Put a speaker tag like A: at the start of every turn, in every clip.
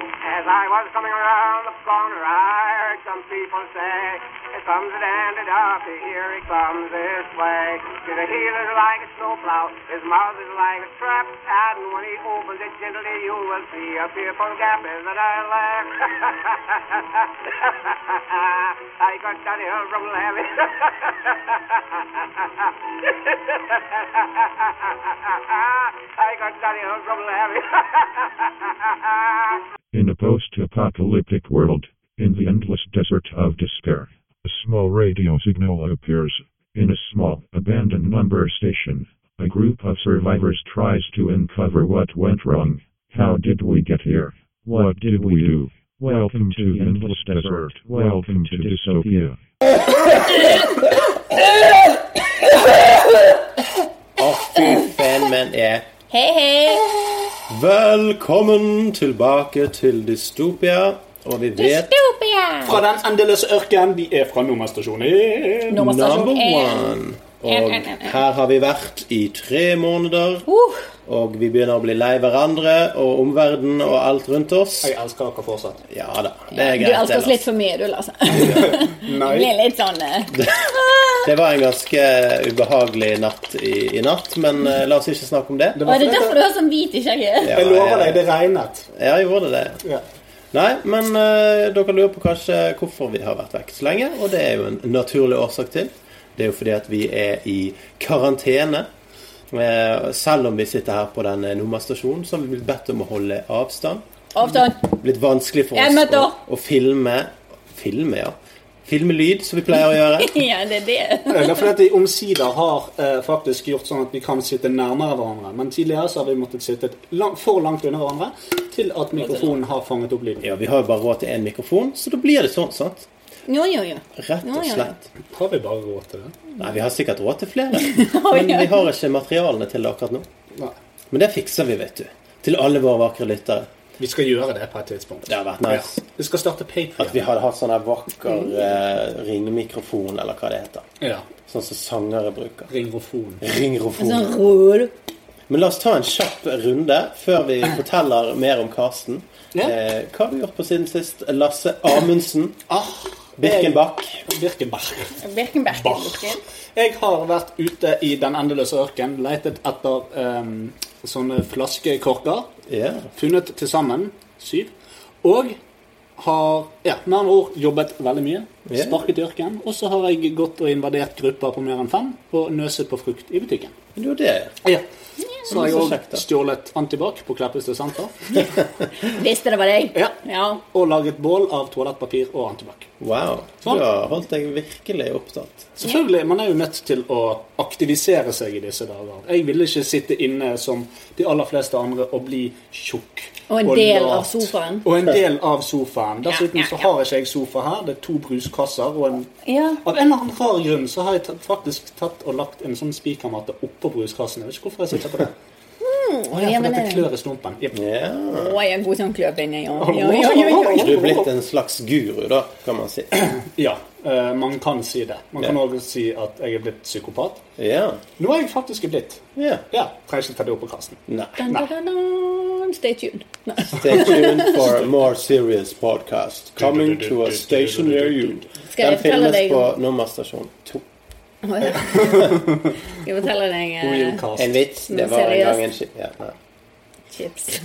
A: I was coming around the corner, I heard some people say, Here comes a dandy darky, here he comes this way. His heel is like a snowplow, his mouth is like a trap, and when he opens it gently, you will see a fearful gap. Is that I laugh? I got that hill from Lammy. I got that hill from Lammy.
B: In a post apocalyptic world, in the endless desert of despair, a small radio signal appears. In a small, abandoned number station, a group of survivors tries to uncover what went wrong. How did we get here? What did we do? Welcome to Endless Desert. Welcome to Dystopia.
C: Å, fy faen, men jeg
D: Hei, hei!
C: Velkommen tilbake til Dystopia. Og vi vet
D: Dystopia!
E: Fra den endeløse ørken, de er fra nummerstasjonen.
C: number
D: Nummerstasjon én.
C: one. Og
D: En, en, en, en.
C: her har vi vært i tre måneder,
D: Uh,
C: og vi begynner å bli lei hverandre og omverdenen og alt rundt oss.
E: Jeg elsker dere fortsatt.
C: Ja da, det er
D: du
C: greit.
D: elsker oss
C: ellers.
D: litt for mye, du, Lars. Det blir litt sånn eh,
C: Det var en ganske ubehagelig natt i, i natt, men eh, la oss ikke snakke om det.
E: Det
D: Var
E: var
D: det
E: fordi
D: derfor du har sånn hvit i skjegget?
C: Ja,
E: Jeg lover deg,
C: jeg,
E: det regnet.
C: jeg gjorde det.
E: Ja.
C: Nei, men eh, dere lurer på kanskje hvorfor vi har vært vekk så lenge, og det er jo en naturlig årsak til. Det er jo fordi at vi er i karantene. Eh, selv om vi sitter her på den eh, nummerstasjonen, så har vi blitt bedt om å holde avstand.
D: Avstand.
C: Blitt vanskelig for
D: Jeg
C: oss
D: møtte
C: å,
D: opp.
C: å filme Filme, ja. Filme lyd, som vi pleier å gjøre.
D: Ja, det er det.
E: Det er fordi at de omsider har eh, faktisk gjort sånn at vi kan sitte nærmere hverandre. Men tidligere så har vi måttet sitte langt, for langt under hverandre til at mikrofonen har fanget opp lyden.
C: Ja, Vi har jo bare råd til én mikrofon, så da blir det sånn, sant?
D: Jo, jo, jo.
C: Rett
D: Ja,
C: og
D: ja, ja.
C: slett.
E: Har vi bare råd til det?
C: Nei, vi har sikkert råd til flere, men vi har ikke materialene til det akkurat nå.
E: Nei.
C: Men det fikser vi, vet du. Til alle våre vakre lyttere.
E: Vi skal gjøre det på et tidspunkt.
C: Det har vært nice.
E: Ja. Vi skal starte
C: At vi
E: Patrion.
C: hadde hatt sånn her vakker eh, ringmikrofon, eller hva det heter.
E: Ja.
C: Sånn som sangere bruker.
E: Ringrofon.
C: Ringrofon.
D: Sånn rød.
C: Men la oss ta en kjapp runde før vi forteller mer om Karsten.
E: Ja.
C: Eh, hva har du gjort på siden sist? Lasse Amundsen.
E: Ah, Eh,
C: Birkenbach.
E: Birkenberg.
D: Birkenberg.
E: Bah. Jeg har vært ute i den endeløse ørken, letet etter em, sånne flaskekorker.
C: Ja.
E: Funnet til sammen syv. Og har ja, med andre ord jobbet veldig mye.
C: Ja.
E: Sparket i ørken. Og så har jeg gått og invadert grupper på mer enn fem og nøset på frukt i butikken.
C: Men det var det.
E: Ja. Så har jeg
C: Så kjekt, da.
E: òg stjålet antibac på Kleppestø senter.
D: Visste det var deg?
E: Ja.
D: Ja.
E: Og laget bål av toalettpapir og antibac.
C: Wow. Du
E: Sånn.
C: har holdt deg virkelig opptatt.
E: Selvfølgelig, Man er jo nødt til å aktivisere seg i disse dager. Jeg ville ikke sitte inne som de aller fleste andre og bli tjukk.
D: Og en del
E: lat.
D: av sofaen.
E: Og en del av sofaen. Dessuten
D: Ja, ja,
E: så
D: ja.
E: har ikke jeg sofa her. Det er to bruskasser. og en...
D: Ja.
E: Av en eller annen rar grunn så har jeg tatt, faktisk tatt og lagt en sånn spikermatte oppå bruskassen. Jeg vet ikke hvorfor jeg sitter på det. Å, ja,
D: ja, men
E: for dette
D: det-
E: klør i stumpen. Jep.
C: Ja.
D: Å, jeg er en god sånn kløpinne, ja. Ja, ja, ja, ja.
C: Du er blitt en slags guru, da, kan man si.
E: Ja, eh, man kan si det. Man kan
C: Ja.
E: òg si at jeg er blitt psykopat.
C: Ja.
E: Nå er jeg faktisk blitt.
C: Ja.
E: Ja, trenger ikke ta det opp på kassen.
C: Nei.
D: Dun, dun, dun, dun. Stay tuned. Nei.
C: Stay tuned for a more serious podcast coming to a station near you.
D: Skal
C: Den
D: jeg fortelle
C: filmes
D: deg
C: på
D: om-
C: nummerstasjon 2.
D: Å, ja. Skal jeg fortelle deg eh,
C: En vits. Det
D: Noe
C: var en
D: seriøst.
C: gang en ski... Ja, nei.
D: chips.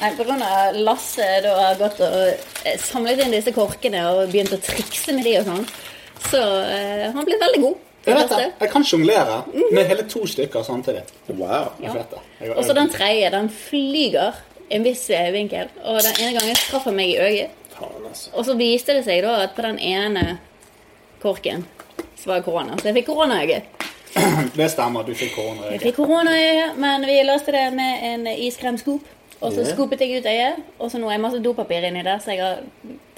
D: Nei, på grunn av Lasse da har gått og eh, samlet inn disse korkene og begynt å trikse med de og sånn, så eh, han ble veldig god.
E: Jeg vet det.
D: Lasse.
E: Jeg kan sjonglere
D: Mm.
E: med hele to stykker samtidig.
C: Wow.
E: Jeg vet det. Jeg,
D: Og så den tredje, den flyger en viss eh, vinkel, og den ene gangen traff han meg i øyet,
C: Faen, altså.
D: og så viste det seg da at på den ene korken så var det korona, så jeg fikk koronaøye.
E: det stemmer, du fikk korona.
D: Jeg fikk koronaøye, men vi løste det med en iskrem scoop. Og så
C: Ja.
D: scoopet jeg ut øyet, og så nå er det masse dopapir inni der, så jeg har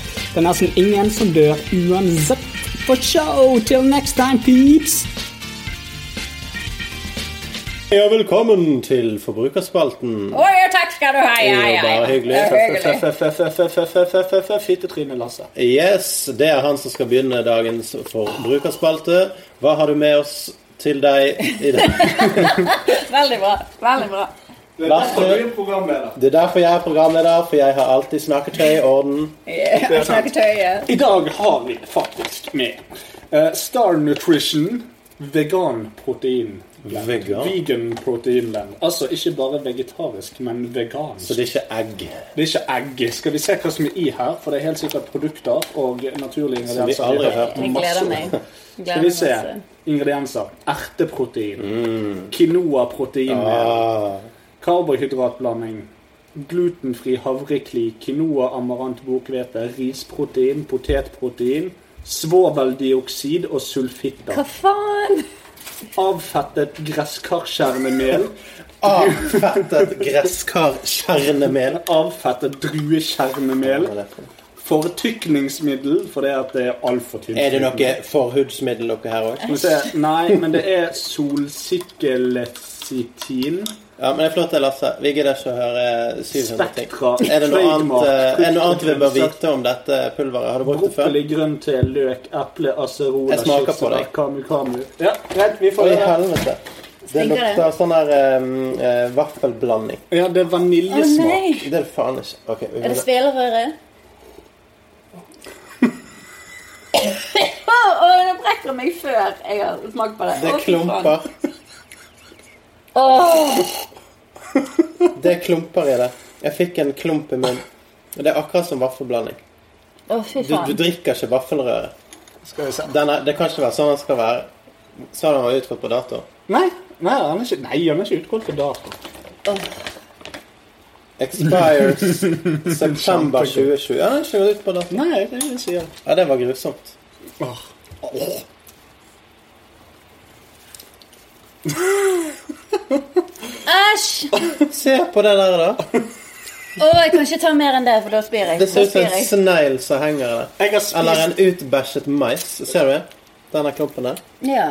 F: Det er nesten ingen som dør uansett. For show! Till next time, peeps!
C: Ja, velkommen til Forbrukerspalten.
D: Å ja, takk skal du ha. Ja, ja, ja.
C: Bare hyggelig.
D: Det er hyggelig.
E: Fittetryne, Lasse.
C: Yes, det er han som skal begynne dagens forbrukerspalte. Hva har du med oss til deg i dag?
D: Veldig bra. Veldig bra.
C: Lasse, du er Det er derfor jeg er programleder, for jeg har alltid snakketøy i orden.
D: Ja, Snakketøyet.
E: I dag har vi faktisk med eh, Star Nutrition vegan protein.
C: Vegan.
E: Vegan proteinland. Altså ikke bare vegetarisk, men vegansk.
C: Så det er ikke egg.
E: Det er ikke egg. Skal vi se hva som er i her? For det er helt sikkert produkter og naturlige
C: Som vi
E: ingredienser.
C: aldri har hørt om.
D: Jeg gleder meg.
E: Skal
D: Gleder
E: vi
D: meg
E: se.
D: masse.
E: Ingredienser. Erteprotein.
C: Mm.
E: Quinoa-protein.
C: Ah,
E: Karbohydratblanding. Glutenfri havrekli. Quinoa, amarant, bokhvete. Risprotein. Potetprotein. Svoveldioksid og sulfitter.
D: Hva faen?
E: Avfettet gresskarskjernemel.
C: Ah, avfettet gresskarkjernemel.
E: Avfettet druekjernemel. fortykningsmiddel fordi at det er altfor tynt.
C: Er det noe forhudsmiddel dere her òg?
E: Skal vi se. Nei, men det er solsikkeletsitin.
C: Ja, men det er flott, det, Lasse. Vi gidder ikke å høre 700 ting.
E: Spektra.
C: Er det noe annet, eh,
E: trademark,
C: er det noe annet vi bør
E: fruktgrønnsak,
C: vite om dette pulveret? Har du brukt det før?
E: Brokkoli, grønn te, løk, eple, acerola,
C: Jeg smaker på deg.
E: kamu, kamu. Ja, greit, vi får
C: Oi,
E: det.
C: helvete. Det
D: Stinker det?
C: lukter sånn der eh, eh, vaffelblanding.
E: Ja, det
D: Å
E: er vaniljesmak.
D: nei!
C: Det er det faen ikke. Ok, vi
D: Er det
C: begynner.
D: svelerøre? Å, det brekker meg før jeg har smakt på det.
C: det er
D: Å, fy faen.
C: klumper.
D: Åh,
C: Det er klumper i det. Jeg fikk en klump i munnen. Det er akkurat som vaffelblanding.
D: Å, fy
C: Du, du
D: faen.
C: drikker ikke vaffelrøre.
E: Skal vi se.
C: Den er- Det kan ikke være sånn den skal være. Sa den var utgått på dato.
E: Nei, nei, han er ikke, nei, han er ikke utgått for dato.
C: Expires september 2020. Ja, den er ikke gått ut på dato.
E: Nei, det er det jeg sier.
C: Ja, det var grusomt.
E: Åh.
D: Æsj!
C: Se på det der, da.
D: Å, jeg kan ikke ta mer enn det, for da spyr jeg.
C: Det ser
D: Da
C: ut som
D: spyr
C: en
D: jeg.
C: snegl som henger der.
E: Jeg har
C: Eller en
E: spist
C: utbæsjet mais. Ser du det? Denne klumpen der.
D: Ja.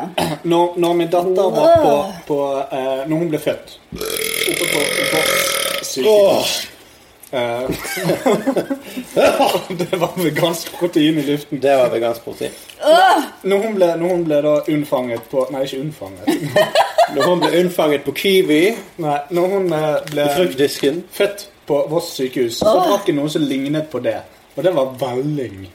E: når, når min datter var på, på eh, Når hun ble født. Oppe på Voss sykehus. Eh, det var vegansk protein i luften.
C: Det var vegansk protein.
E: Når hun ble, når hun ble da unnfanget på Nei, ikke unnfanget.
C: Når hun ble unnfanget på Kiwi
E: Nei, når hun eh, ble
C: i fruktdisken
E: født på Voss sykehus, så drakk hun noe som lignet på det. Og det var velling.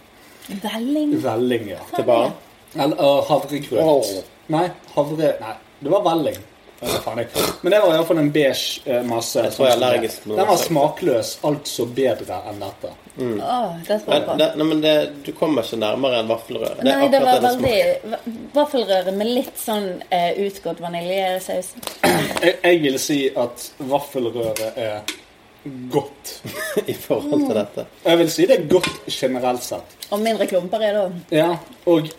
D: Velling.
E: Velling, ja.
C: til barn
E: Eller øh, havregrøt.
C: Åh.
E: Nei, havre... Nei, det var velling. Jeg vet faen ikke. Men det var i hvert fall en beige eh, masse.
C: Jeg tror jeg er allergisk mot
E: Den var
C: det.
E: smakløs, altså bedre enn dette.
D: Å, det
C: Nei,
D: smaker bra.
C: det, nei, men det, Du kommer ikke nærmere en vaffelrøre. Det er
D: Nei, det
C: akkurat
D: var
C: det det smaker.
D: veldig va- Vaffelrøre med litt sånn eh, utgått vaniljesaus.
E: Jeg, jeg vil si at vaffelrøre er godt.
C: i forhold
D: Mm.
C: til dette.
E: Jeg vil si det er godt generelt sett.
D: Og mindre klumper er det òg.
E: Ja, og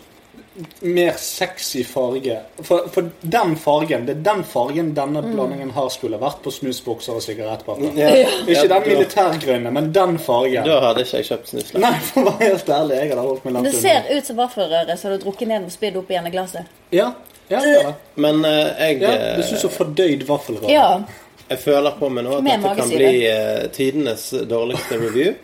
E: mer sexy farge. For, for den fargen, det er den fargen denne
D: Mm.
E: blandingen her skulle vært på snusbokser og sigarettpakker.
C: Ja. Ja,
E: Ikke den militærgrønne, men den fargen.
C: Da hadde ikke jeg kjøpt snus.
E: Nei, for å være helt ærlig, jeg hadde holdt meg langt
D: Det ser ut som vaffelrøre som du har drukket ned og spydd opp igjen i glasset.
E: Ja, ja, det er det.
C: Men eh, jeg,
E: ja
C: eh,
E: det ser ut som fordøyd vaffelrøre.
D: Ja.
C: jeg føler på meg nå at
D: Med
C: dette kan
D: magesyre.
C: bli eh, tidenes dårligste review.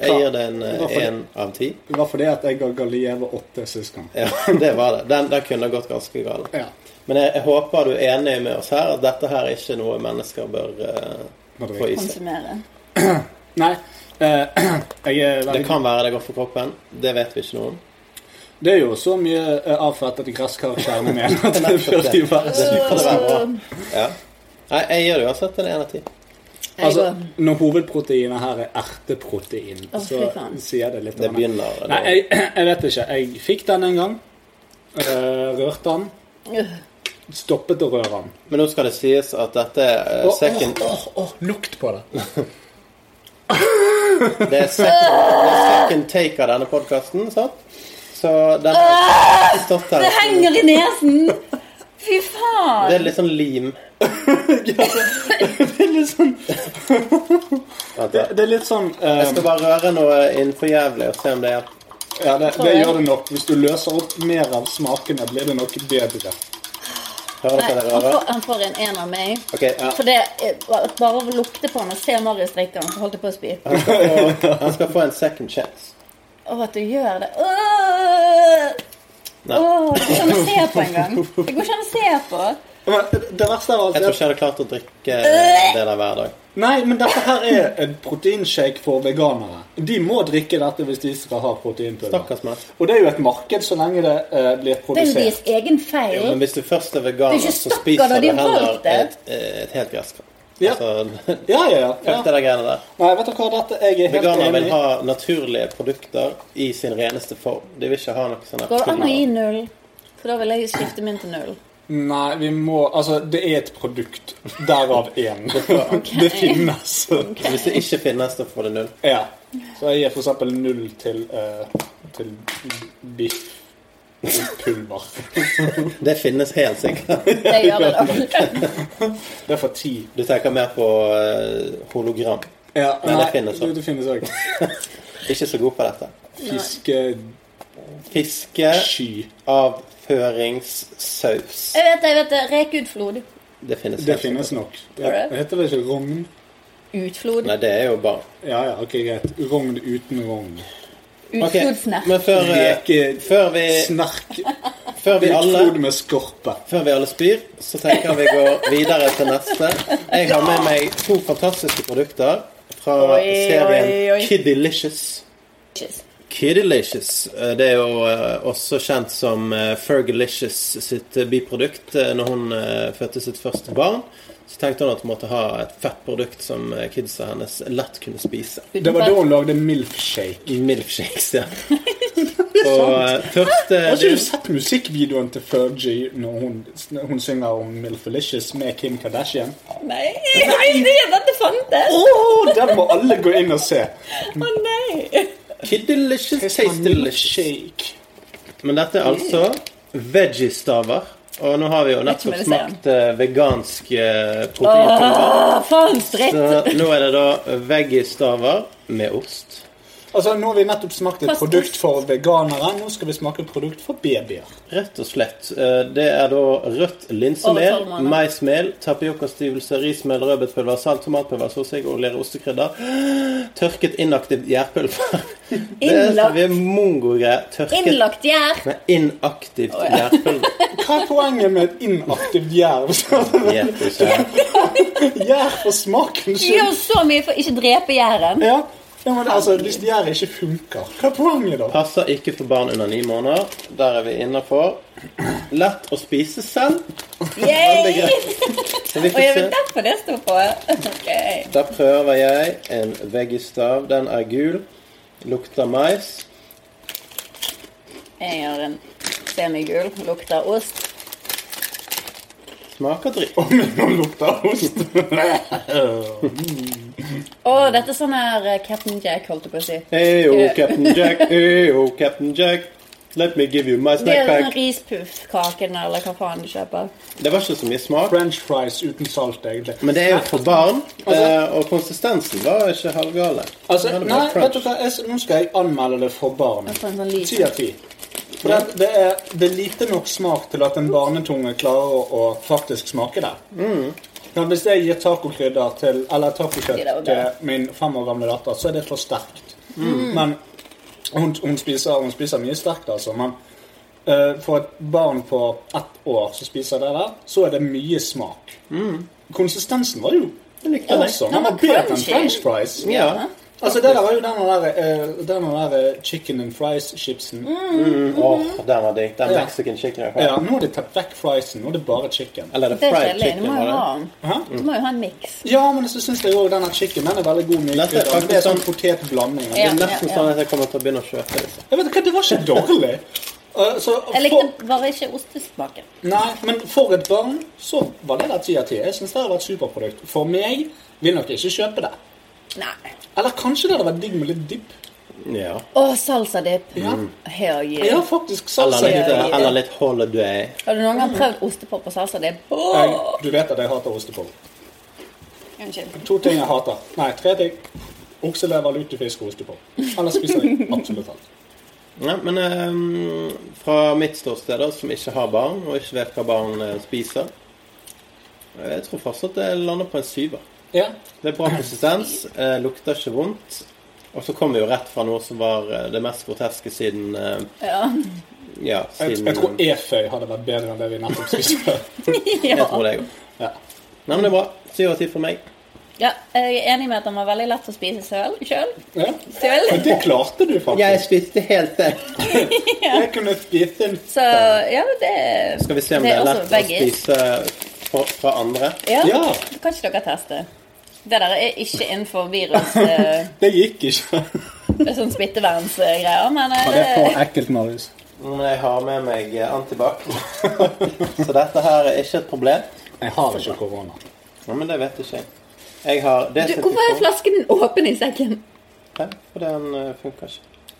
C: Jeg gir det en eh,
E: Hvorfor det?
C: én av ti.
E: Det var fordi at jeg ga Galieva åtte sist gang.
C: Ja, det var det. Den, den kunne gått ganske galt.
E: Ja,
C: Men jeg, jeg håper du er enig med oss her at dette her er ikke noe mennesker bør eh,
E: Må drikke.
C: få i seg.
D: Konsumere.
E: Nei, eh, jeg er
C: Det
E: veldig...
C: kan være det går for kroppen. Det vet vi ikke noe om.
E: Det er jo så mye eh, avfett at gresskar-kjernen min at det burde jo være
C: Det
E: sykt.
C: kan det være bra. Ja. Nei, jeg gir det uansett en én av ti.
D: Jeg
E: Altså,
D: går.
E: når hovedproteinet her er erteprotein,
D: Å,
E: så
D: fy faen.
E: sier det litt
C: Det
E: om det.
C: begynner
E: Nei, jeg, jeg vet ikke. Jeg fikk den en gang. eh, rørte den.
D: Øh.
E: Stoppet å røre den.
C: Men nå skal det sies at dette er eh,
E: Åh,
C: second
E: åh, åh, lukt på det.
C: Det er second, det er second take av denne podkasten, sant? Så den har stått her
D: Det henger i nesen! Fy faen!
C: Det er litt sånn lim.
E: Det er litt sånn
C: Vent,
E: Det,
C: da.
E: det er litt sånn eh,
C: Jeg skal bare røre noe innenfor jævlig og se om det er
E: ja, det, det gjør det nok. Hvis du løser opp mer av smakene, blir det nok bedre.
C: Hører
D: Nei,
C: dere det sånn
D: han
C: røret?
D: får, han får en en av meg.
C: Ok, ja.
D: For det, eh, Bare av å lukte på han og se Marius drikke han, så holdt jeg på å spy.
C: han, skal få, han skal få en second chance.
D: Åh, at du gjør det. Åh, Åh, det går ikke an å se på engang. Det går ikke an å se på.
E: Men eh, det verste av alt
C: Jeg tror
E: er
C: ikke jeg hadde klart å drikke
D: Øh.
C: det der hver dag.
E: Nei, men dette her er en proteinshake for veganere. De må drikke dette hvis de skal ha
C: Stakkars
E: proteinpulver.
C: meg.
E: Og det er jo et marked så lenge det eh,
D: Det er
E: blir
D: jo deres
E: produsert.
D: egen feil.
C: Men hvis du først er
D: Det er
C: veganer,
D: ikke
C: så
D: stakkar,
C: spiser
D: da,
C: du
D: de har
C: heller
D: valgt det.
C: et, et helt gresskar.
E: Ja.
C: Altså,
E: Ja, ja, ja.
C: Fuck det
E: ja.
C: der greiene der.
E: Nei, vet du hva, dette jeg er helt
C: Veganere
E: enig
C: vil
E: i.
C: ha naturlige produkter i sin reneste form. De vil ikke ha noe sånn
D: Går det an å gi
C: her-
D: null? For da vil jeg skifte min til null.
E: Nei, vi må Altså, det er et produkt. Derav én. Det finnes.
C: Hvis det ikke finnes, da får det null.
E: Ja. Så jeg gir for eksempel null til, eh, til biff. Pulver.
C: Det finnes helt sikkert.
D: Det gjør det da.
E: Det er for ti.
C: Du tenker mer på eh, hologram.
E: Ja,
C: Men det finnes også.
E: det, det finnes òg.
C: Ikke så god på dette.
E: Fiskesky. Eh.
C: Fiskeavføringssaus.
D: Jeg vet det, jeg vet det. Rekutflod.
C: Det finnes
E: Det
C: helt
E: finnes nok. Det
D: Alright.
E: heter det ikke rogn?
C: sikkert.
D: Utflod.
C: Nei, det er jo bare
E: Ja ja, ok, greit. Rogn uten rogn.
C: Ok,
D: Utflodsnerk.
C: Men før, eh, før,
E: eh,
C: vi,
E: Rekesnark.
C: før, vi alle,
E: Utflod med skorpe.
C: før vi alle spyr, så tenker jeg vi går videre til neste. Jeg har med meg to fantastiske produkter fra
D: Oi, oi,
C: serien
D: oi.
C: Kiddylicious. Kiddylicious. eh, Det er jo eh, også kjent som eh, Fergalicious sitt eh, biprodukt. Eh, Når hun eh, fødte sitt første barn, så tenkte hun at hun måtte ha et fett produkt som eh, kidsa hennes lett kunne spise.
E: Det var da hun lagde milkshake.
C: Milkshakes, ja. Og eh, første
E: Har ikke du sett musikkvideoen til Fergie når hun, når hun synger om Milfelicious med Kim Kardashian?
D: Nei, jeg visste ikke at dette fantes! Å
E: Oh, den må alle gå inn og se.
D: nei!
C: Kiddylicious Tastelicious.
E: Milkshake.
C: Men dette er altså veggiestaver. Og nå har vi jo nettopp
D: Jeg tror jeg vil se
C: smakt eh, vegansk eh, proteinpulver.
D: Å, faen, dritt!
C: Så nå er det da veggiestaver med ost.
E: Altså, Nå har vi nettopp smakt et
D: Fast
E: produkt
D: ost.
E: for veganere. Nå skal vi smake et produkt for babyer.
C: Rett og slett. Eh, Det er da rødt linsemel,
D: Over tolv måneder.
C: maismel, tapiokastivelse, rismel, rødbetpulver, salt, tomatpulver, solsikkolier, ostekrydder, tørket inaktivt gjærpulver. Det er
D: Innlagt.
C: vi er mongogreier. Tørket
D: Innlagt gjær.
C: Nei, inaktivt gjærpulver.
E: Hva er poenget med et inaktivt jerv?
C: Vet ikke.
E: Jerv for smaken
D: Du gjør
E: skyld.
D: så mye for å ikke drepe gjæren.
E: Ja. ja, men altså, Hvis jerv ikke funker, hva er poenget da?
C: Passer ikke for barn under ni måneder. Der er vi innafor. Lett å spise selv. Det er
D: Yay!
C: greit. Så vi
D: Og jeg
C: får se.
D: vet derfor det sto på. Ok.
C: Da prøver jeg en veggistav. Den er gul. Lukter mais.
D: Jeg gjør en semigul. Lukter ost.
C: Smaker dritt.
E: Å, men Nå lukter ost.
D: Å, dette er sånn her eh, Captain Jack, holdt jeg på å si.
C: Heyo, Captain Jack. Heyo, Captain Jack. Let me give you my
D: Det
C: snack
D: er sånn
C: pack.
D: rispuffkaken eller hva faen du kjøper.
C: Det var ikke så mye smak,
E: French fries uten salt, egentlig.
C: men det er jo for barn. eh, Og konsistensen var ikke halvgale.
E: Altså,
C: Den hadde
E: nei,
C: bare
E: vet du
C: crunch.
E: hva, jeg, nå skal jeg anmelde det for barn.
D: Jeg får en sånn lyd.
E: Ti av ti. For det, det, er, det er lite nok smak til at en barnetunge klarer å, å faktisk smake det. Men hvis jeg gir tacokrydder til Eller
D: Det er
E: tacokjøtt
D: det.
E: til min fem år gamle datter, så er det for sterkt.
D: Mm.
E: Men hun, hun, spiser, hun spiser mye sterkt, altså. Men eh, for et barn på ett år som spiser det der, så er det mye smak. Konsistensen var jo
C: Jeg likte den.
E: awesome.
D: den
E: Den
D: var
E: var bedre enn
D: crunchy.
E: french fries.
C: Ja.
E: Altså, det der var jo den der, eh, den der eh, chicken and fries-chipsen.
C: Mm. Åh, den var digg. Den
E: Ja.
C: mexican chicken. jeg har.
E: Ja, nå har de tatt vekk friesen. Nå er det bare chicken.
C: Eller er
D: Det
C: det
D: er
C: fried
D: kjedelig. Du
C: chicken?
D: må jo ha
C: Var det?
D: den.
E: Hæ?
D: Du må jo ha en miks.
E: Ja, men så syns jeg òg denne chicken den er veldig god med
C: Dette er
E: krydder. Det er
C: faktisk
E: sånn
C: sånn-
E: potetblanding.
D: Ja.
C: Det er nesten sånn at jeg kommer til å begynne å kjøpe det.
E: Jeg vet ikke, Det var ikke dårlig. Eh, så
D: Jeg
E: for,
D: likte bare ikke ostesmaken.
E: nei, men for et barn så var det der ti av ti. Jeg syns det var et superprodukt. For meg vil nok ikke kjøpe det.
D: Nei.
E: Eller kanskje det hadde vært digg med litt dipp.
C: Ja.
D: Å, salsadip.
E: Ja.
D: Hell
E: Jeg har
D: yeah.
E: faktisk
C: Eller
D: Altså,
E: salsa i
C: litt,
E: det.
C: eh, eller litt holiday.
D: Har du noen gang prøvd ostepop og salsadip?
E: Jeg,
D: Åh!
E: du vet at jeg hater ostepop.
D: Unnskyld.
E: To ting jeg hater. Nei, tre ting. Okselever, lutefisk og ostepop. Ellers spiser jeg absolutt alt.
C: Ja, men eh, fra mitt ståsted, da, som ikke har barn, og ikke vet hva barn eh, spiser eh, Jeg tror fortsatt det lander på en syver.
E: Ja.
C: Det er bra konsistens, eh, lukter ikke vondt. Og så kom vi jo rett fra noe som var eh, det mest groteske siden eh,
D: Ja.
C: Ja,
E: Jeg,
C: siden
E: jeg tror eføy hadde vært bedre enn det vi nettopp spiste.
C: Jeg
D: ja.
C: tror det, jeg òg.
E: Ja.
C: Nei, men det er bra. Syv av ti for meg.
D: ja. Jeg er enig med at den var veldig lett å spise selv. Sjøl?
E: Ja.
D: Selv?
E: Men det klarte du faktisk.
C: spiste helt det.
E: Jeg kunne spise en
D: Så ja, det
C: Skal vi se om det
D: Det er
C: er,
D: også
C: lett
D: veggis.
C: å spise fra, fra andre.
D: Ja.
E: Ja!
D: Kan ikke dere teste? Det der er ikke innenfor virus eh,
E: Det gikk ikke.
D: sånn smittevernsgreier, men eh,
E: Det er for ekkelt, Marius.
C: Men jeg har med meg eh, antibac, så dette her er ikke et problem.
E: Jeg har ikke korona.
C: Ja, men det vet ikke jeg. Jeg har
D: du, Hvorfor er flasken åpen i sekken?
C: flaske? For den eh, funker ikke.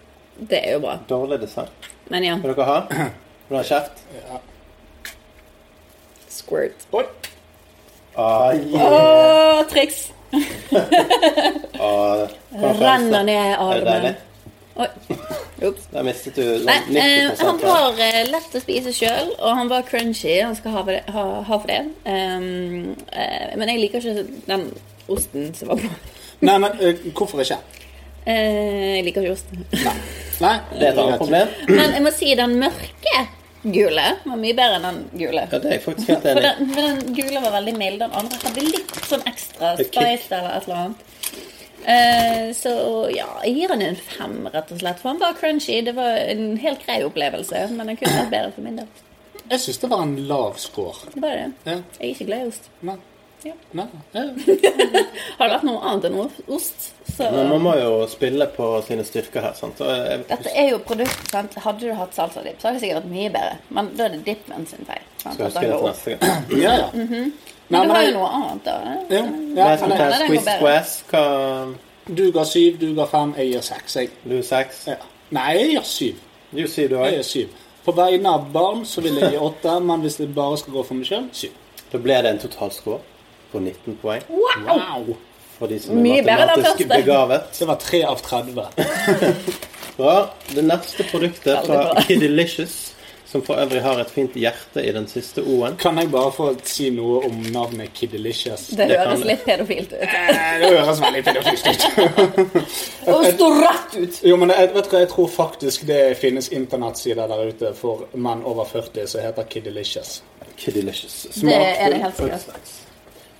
D: Det er jo bra.
C: Dårlig design.
D: Men ja.
C: Vil dere ha? Vil dere ha kjeft?
D: Squirt.
E: Oi!
C: Ah,
D: Å,
C: yeah.
D: triks!
C: Ah,
D: Renner ned i
C: Er det deilig?
D: armen. Oi. Ups.
C: Der mistet du sånn
D: Nei,
C: 90
D: eh, han var eh, lett å spise sjøl, og han var crunchy. Han skal ha for det. Ha, ha for det. Ehm, eh, men jeg liker ikke den osten som var på.
E: Nei, men eh, hvorfor ikke?
D: Eh, jeg liker ikke osten.
E: Nei,
C: Det er et annet problem.
D: Men jeg må si den mørke gule var mye bedre enn den gule.
C: Ja, det er jeg faktisk helt
D: For
C: enig i.
D: den, for den gule var veldig mild. Den andre hadde litt sånn ekstra
C: Et kick.
D: spice eller et eller annet. Eh, så ja, jeg gir han en fem, rett og slett. For han var crunchy. Det var en helt grei opplevelse, men den kunne vært bedre for min del.
E: Jeg syns det var en lav score.
D: Det var det.
E: Ja.
D: Jeg er ikke glad i ost.
E: Nei.
D: Ja.
E: Nei. Ja.
D: Har det vært noe annet enn ost, så
C: Men man må jo spille på sine styrker her. sant? Og jeg-
D: Dette er jo produkt, sant. Hadde du hatt salsadipp, så hadde det sikkert vært mye bedre. Men da er det dippen sin feil. Sant?
C: Skal
D: At
C: huske
D: den
C: det
D: går
C: til
D: opp.
C: neste gang.
E: ja, ja. Nei,
D: Mhm. Men du
E: men
D: har
E: jeg-
D: jo noe annet, da. eh?
E: Ja, ja,
C: Last
E: men jeg-
C: Attack,
D: den går
C: Squeeze
D: bedre.
C: Squash, hva
E: Du ga syv, du ga fem, jeg gir seks. Jeg.
C: Du seks.
E: Ja. Nei, jeg gir syv.
C: Du sier du
E: Jeg
C: òg.
E: gir syv. På vegne av barn så vil jeg gi åtte, men hvis jeg bare skal gå for meg sjøl, syv.
C: Da ble det en totalscore på 19 poeng.
D: Wow!
E: Wow!
C: For de som er
D: Mye bedre enn den
C: matematisk
D: første.
C: begavet.
E: Det var tre av 30.
C: Bra. Det neste produktet
D: Veldig
C: fra
D: bra.
C: Kiddelicious, som for øvrig har et fint hjerte i den siste O-en
E: Kan jeg bare få si noe om navnet Kiddelicious?
D: Det
C: det
D: høres
C: kan-
D: litt pedofilt ut.
E: Eh, Det høres veldig pedofilt ut.
D: Og står rett ut!
E: Jo, men jeg, vet du hva, jeg tror faktisk det finnes internettsider der ute for menn over 40 som heter Kiddelicious.
C: Kiddelicious.
D: Det er det
C: Smakfull
D: helt sikkert.
C: fruktsaus.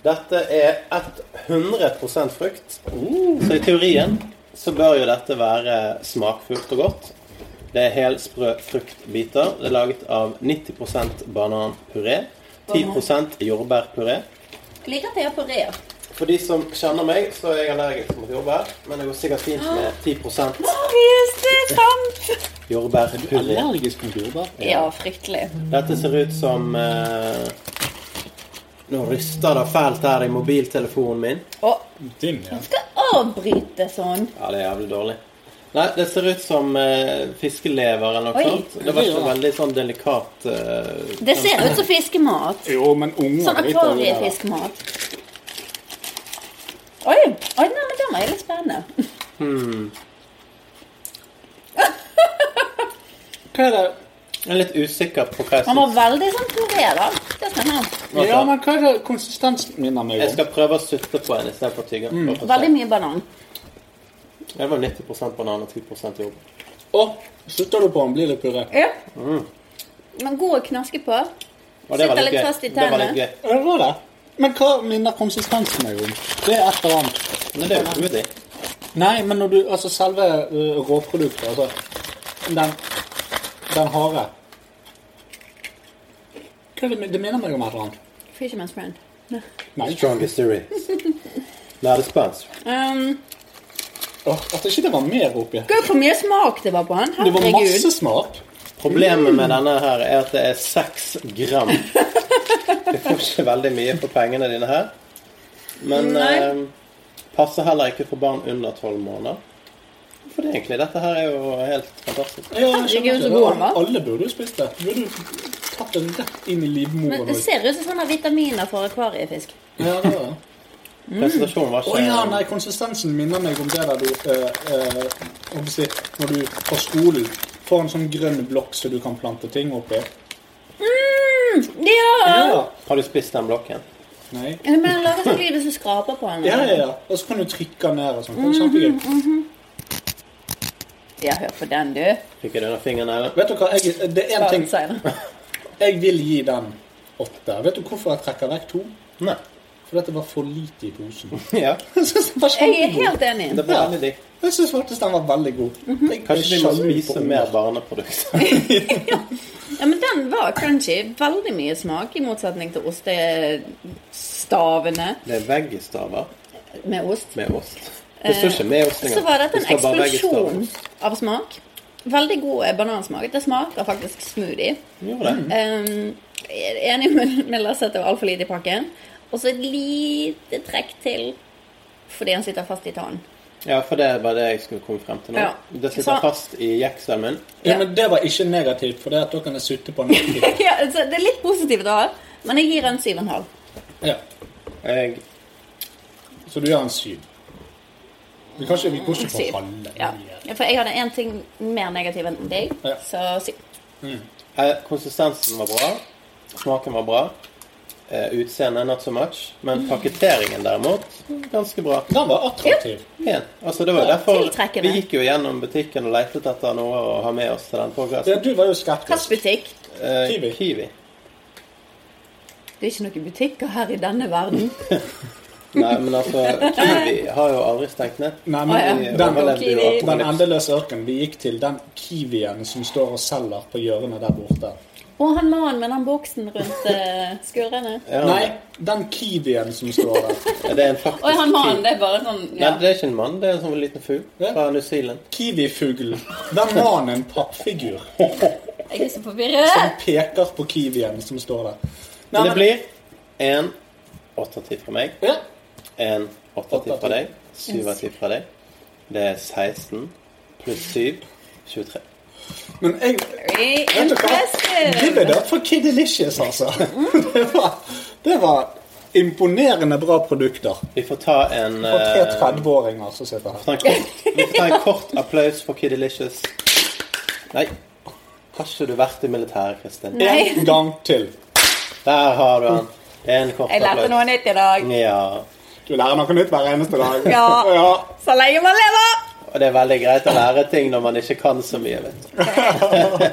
C: Dette er 100 frukt. Så i teorien så bør jo dette være smakfullt og godt. Det er helsprø fruktbiter. Det er laget av 90 bananpuré, 10 jordbærpuré.
D: Liker Thea på rea.
C: For de som kjenner meg, så er jeg allergisk mot jordbær. Men det går sikkert fint med 10
D: Marius, det er sant!
C: jordbærpuré.
E: Allergisk mot jordbær.
D: Ja, fryktelig.
C: Dette ser ut som eh, Nå ryster det fælt her i mobiltelefonen min.
D: Å,
E: Din, ja.
D: skal avbryte sånn.
C: Ja, det er jævlig dårlig. Nei, det ser ut som eh, fiskelever eller noe
D: Oi.
C: sånt. Det var ikke veldig sånn delikat eh,
D: Det ser ut som fiskemat.
E: Jo, men unger
D: Sånn
E: driter jo i det, da.
D: akvariefiskmat. Oi! Oi, nei, men den var litt spennende.
E: Hva er det?
C: Jeg er litt usikker på hva jeg
D: Han var
C: syns.
D: veldig sånn puré, da. Det er spennende.
E: Ja, men hva er det konsistensen minner meg
C: Jeg
E: om?
C: skal prøve å sutte på en istedenfor å tygge. Bare for å se.
D: Mm. Veldig mye banan.
C: Det var 90 banan og 10 jordbær.
E: Å, slutter du på den, blir det puré.
D: Ja.
E: Mm.
D: Men god å knaske på.
C: Og det var
D: Sitter
C: litt
D: litt
C: gøy.
D: fast i
C: Det var
D: tennene.
C: litt gøy.
E: Ja, Det var det. Men hva minner konsistensen meg om? Det er et eller annet.
C: Men det er jo smoothie.
E: Nei, men når du Altså, selve uh, råproduktet, altså Den, den harde Hva er det, det minner meg om et eller annet.
D: Fisherman's friend.
E: Nei.
C: Strongest series. Nå er det spons.
D: Um,
E: Åh, at ikke det var mer oppi.
D: Gud, hvor mye smak det var på den.
E: Det var
D: Herregud.
E: masse smak.
C: Problemet med denne her er at det er 6 gram. Du får ikke veldig mye for pengene dine her. Men
D: Nei.
C: eh, passer heller ikke for barn under 12 måneder. For det egentlig, dette her er jo helt fantastisk.
E: Ja, jeg skjønner
D: Herregud, så
E: ikke det.
D: god den var.
E: Alle burde jo spist det. Du burde jo tatt den rett inn i
D: Men
E: livmoren.
D: det ser ut som sånne vitaminer for akvariefisk.
E: Ja, det var det.
C: Presentasjonen var
E: Å ja,
D: Eh,
C: ikke
E: nei, konsistensen minner meg om det der du eh, eh, hva skal jeg si, Når du på skolen får en sånn grønn blokk så du kan plante ting oppi.
D: Mm, ja!
E: Ja.
C: Har du spist den blokken?
E: Nei.
D: Men den lager sånn lyd hvis du skraper på den.
E: Ja, ja, ja. Og så kan du trykke den ned og sånn. Det er
D: Mm,
E: Kjempegøy.
D: Ja, hør på den, du.
C: Fikk jeg det under
D: mm.
C: fingeren?
E: Vet du hva, jeg, det er en ting
D: Senere.
E: Jeg vil gi den åtte. Vet du hvorfor jeg trekker vekk to?
C: Nei.
E: For dette var for lite i posen.
C: Ja.
E: Jeg synes den var
D: Jeg er
E: kjempegod.
D: helt Mhm. enig.
C: Det ble veldig digg.
E: Jeg syns faktisk den var veldig god. Jeg-
C: Kanskje vi må
E: jeg sjalu på
C: spise
E: den.
C: mer barneprodukter.
D: Ja, men den var crunchy. Veldig mye smak, i motsetning til ostestavene
C: Det er veggistaver
D: med ost.
C: med ost. Det står ikke med ost engang.
D: Så var dette
C: Det
D: en
C: står bare veggistaver.
D: eksplosjon av smak. Veldig god eh, banansmak. Det smaker faktisk smoothie.
C: Gjorde det?
D: Um, jeg er enig med, med Lasse at det var altfor lite i pakken. Og så et lite trekk til fordi han sitter fast i tannen.
C: Ja, for det var det jeg skulle komme frem til nå.
D: Ja.
C: Det sitter
D: Så-
C: fast i jekselen min.
E: Ja, men det var ikke negativt, for det at da kan jeg sutte på den. etterpå.
D: ja, så det er litt positivt å ha, men jeg gir en 7,5.
E: Ja.
C: Jeg
E: Så du gjør en syv. Vi kan ikke, vi går ikke
D: Syv.
E: for halve.
D: Ja. ja, for jeg hadde én ting mer negativ enn deg,
E: Ja.
D: så syv.
C: Eh, konsistensen var bra. Smaken var bra. Eh, Utseendet not so much.
D: Mm.
C: Men pakketeringen derimot, ganske bra.
E: Den var attraktiv.
C: Pen. Altså, det var jo derfor
D: tiltrekkende.
C: vi gikk jo gjennom butikken og lette etter noe å ha med oss til den podkasten.
E: Ja, du var jo skeptisk.
D: Plastbutikk.
C: Eh,
E: Kiwi.
C: kiwi.
D: Det er ikke noen butikker her i denne verden.
C: Nei, men altså, Kiwi har jo aldri stengt ned.
E: Nei,
D: Å, ja.
E: men
C: De
E: den,
C: overlevde jo
D: Kiwi.
E: den
C: apokalypsen.
E: endeløse ørkenen. Vi gikk til den kiwien som står og selger på hjørnet der borte.
D: Og han mannen med den boksen rundt eh, skurrene.
C: Ja,
E: Nei, den kiwien som står der.
C: Det er en faktisk
D: Og han mannen,
C: kiwi.
D: det er bare sånn
C: Nei,
D: ja.
C: det er ikke en mann, det er en sånn liten fugl
E: Ja.
C: fra New Zealand.
E: Kiwifuglen. Den mannen en pappfigur
D: Jeg er så forvirret.
E: som peker på kiwien som står der. Nei,
C: Men det blir en åtte av ti fra meg,
E: ja.
C: en åtte av ti
E: Åtte av
C: fra
E: ti.
C: deg, syv av ti fra deg. Det er 16 pluss 7 23.
E: Men jeg
D: Very
E: vet du hva? Give
D: Impressive.
E: it up for Kiddelicious, altså.
D: Mm.
E: Det var, det var imponerende bra produkter.
C: Vi får ta en
E: Og tre
C: eh,
E: 30-åringer som sitter her.
C: ta en kort, Vi får ta en kort applaus for Kid Delicious. Nei, har ikke du vært i militæret, Kristin?
E: En gang til.
C: Der har du han. En kort
D: Jeg lærte noe
C: applaus.
D: nytt i dag.
C: Ja.
E: Du lærer noe nytt hver eneste dag.
D: Ja. Så lenge man lever!
C: Og det er veldig greit å lære ting når man ikke kan så mye, vet du.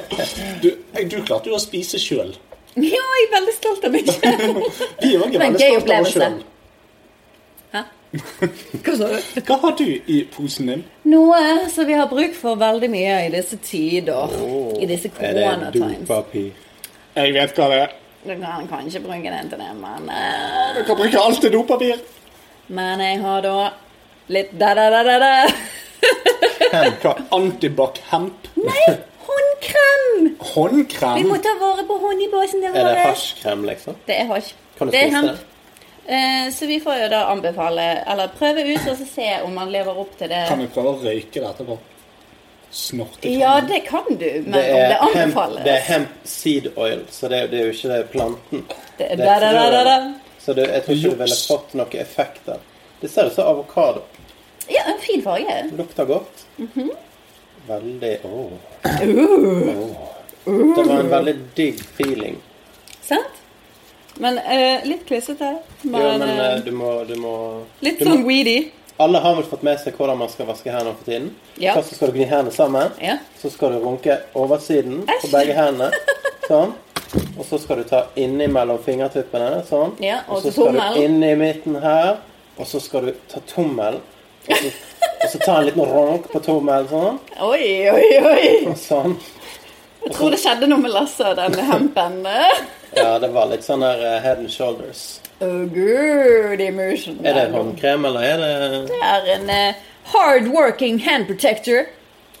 E: Du, eh, du klarte jo å spise sjøl.
D: Ja, jeg er veldig stolt av meg selv.
E: Vi er jo
D: Det
E: ikke
D: var en
E: veldig
D: gøy
E: stolte av oss
D: opplevelse.
E: sjøl.
D: Hva sa du?
E: Hva har du i posen din?
D: Noe som vi har bruk for veldig mye i disse tider. I disse
C: Er det en
D: koronatimes.
C: dopapir?
E: Jeg vet hva det er.
D: Du kan kanskje bruke den til det, men eh,
E: Du kan bruke alt til dopapir.
D: Men jeg har da litt da-da-da-da-da.
E: Hva? Antibac-hemp.
D: Nei, håndkrem! Vi må
E: Håndkrem.
D: ta vare på håndibåsene
C: Er det
D: våre.
C: hasjkrem, liksom?
D: Det er hasj.
C: Kan du
D: Det er
C: spise
D: hemp. Eh, Så vi får jo da anbefale, eller prøve ut og så se om man lever opp til det.
E: Kan vi prøve å røyke det etterpå? Snorte
D: Ja, det kan du, men
C: Det
D: om
C: er,
D: det
C: hemp,
D: anbefales
C: det er hemp seed oil, så det, er- det er jo ikke det planten.
D: Det er
C: Det er
D: da-da-da-da-da.
C: frøen. Så det, jeg tror ikke du ville
E: Juks.
C: fått noen effekter. Det ser ut som avokado.
D: Ja, en fin farge.
C: Lukter godt.
D: Mhm.
C: Veldig
D: Uh.
C: åh. Åh. Det var en veldig digg feeling.
D: Sant? Men eh, litt klissete. Men,
C: Jo, men
D: eh,
C: eh, du må, du må
D: litt
C: du
D: sånn
C: må,
D: weedy.
C: Alle har vel fått med seg hvordan man skal vaske hendene for tiden?
D: Ja.
C: Først så skal du gni hendene sammen.
D: Ja.
C: Så skal du runke oversiden på
D: Æsj.
C: begge hendene. Sånn. Og så skal du ta innimellom fingertuppene. Sånn.
D: Ja, og
C: så
D: så
C: skal du
D: tommelen.
C: inn i midten her. Og så skal du ta tommelen. Og så, og så ta en liten ronk på tommelen. Sånn.
D: Oi, oi, oi!
C: sånn.
D: Jeg tror det skjedde noe med Lasse og den hempen. Å,
C: Ja, det var litt sånn der eh, head and shoulders.
D: gud, Oh, emotion.
C: Er det håndkrem, eller er det
D: Det er en eh, hard-working hand protector.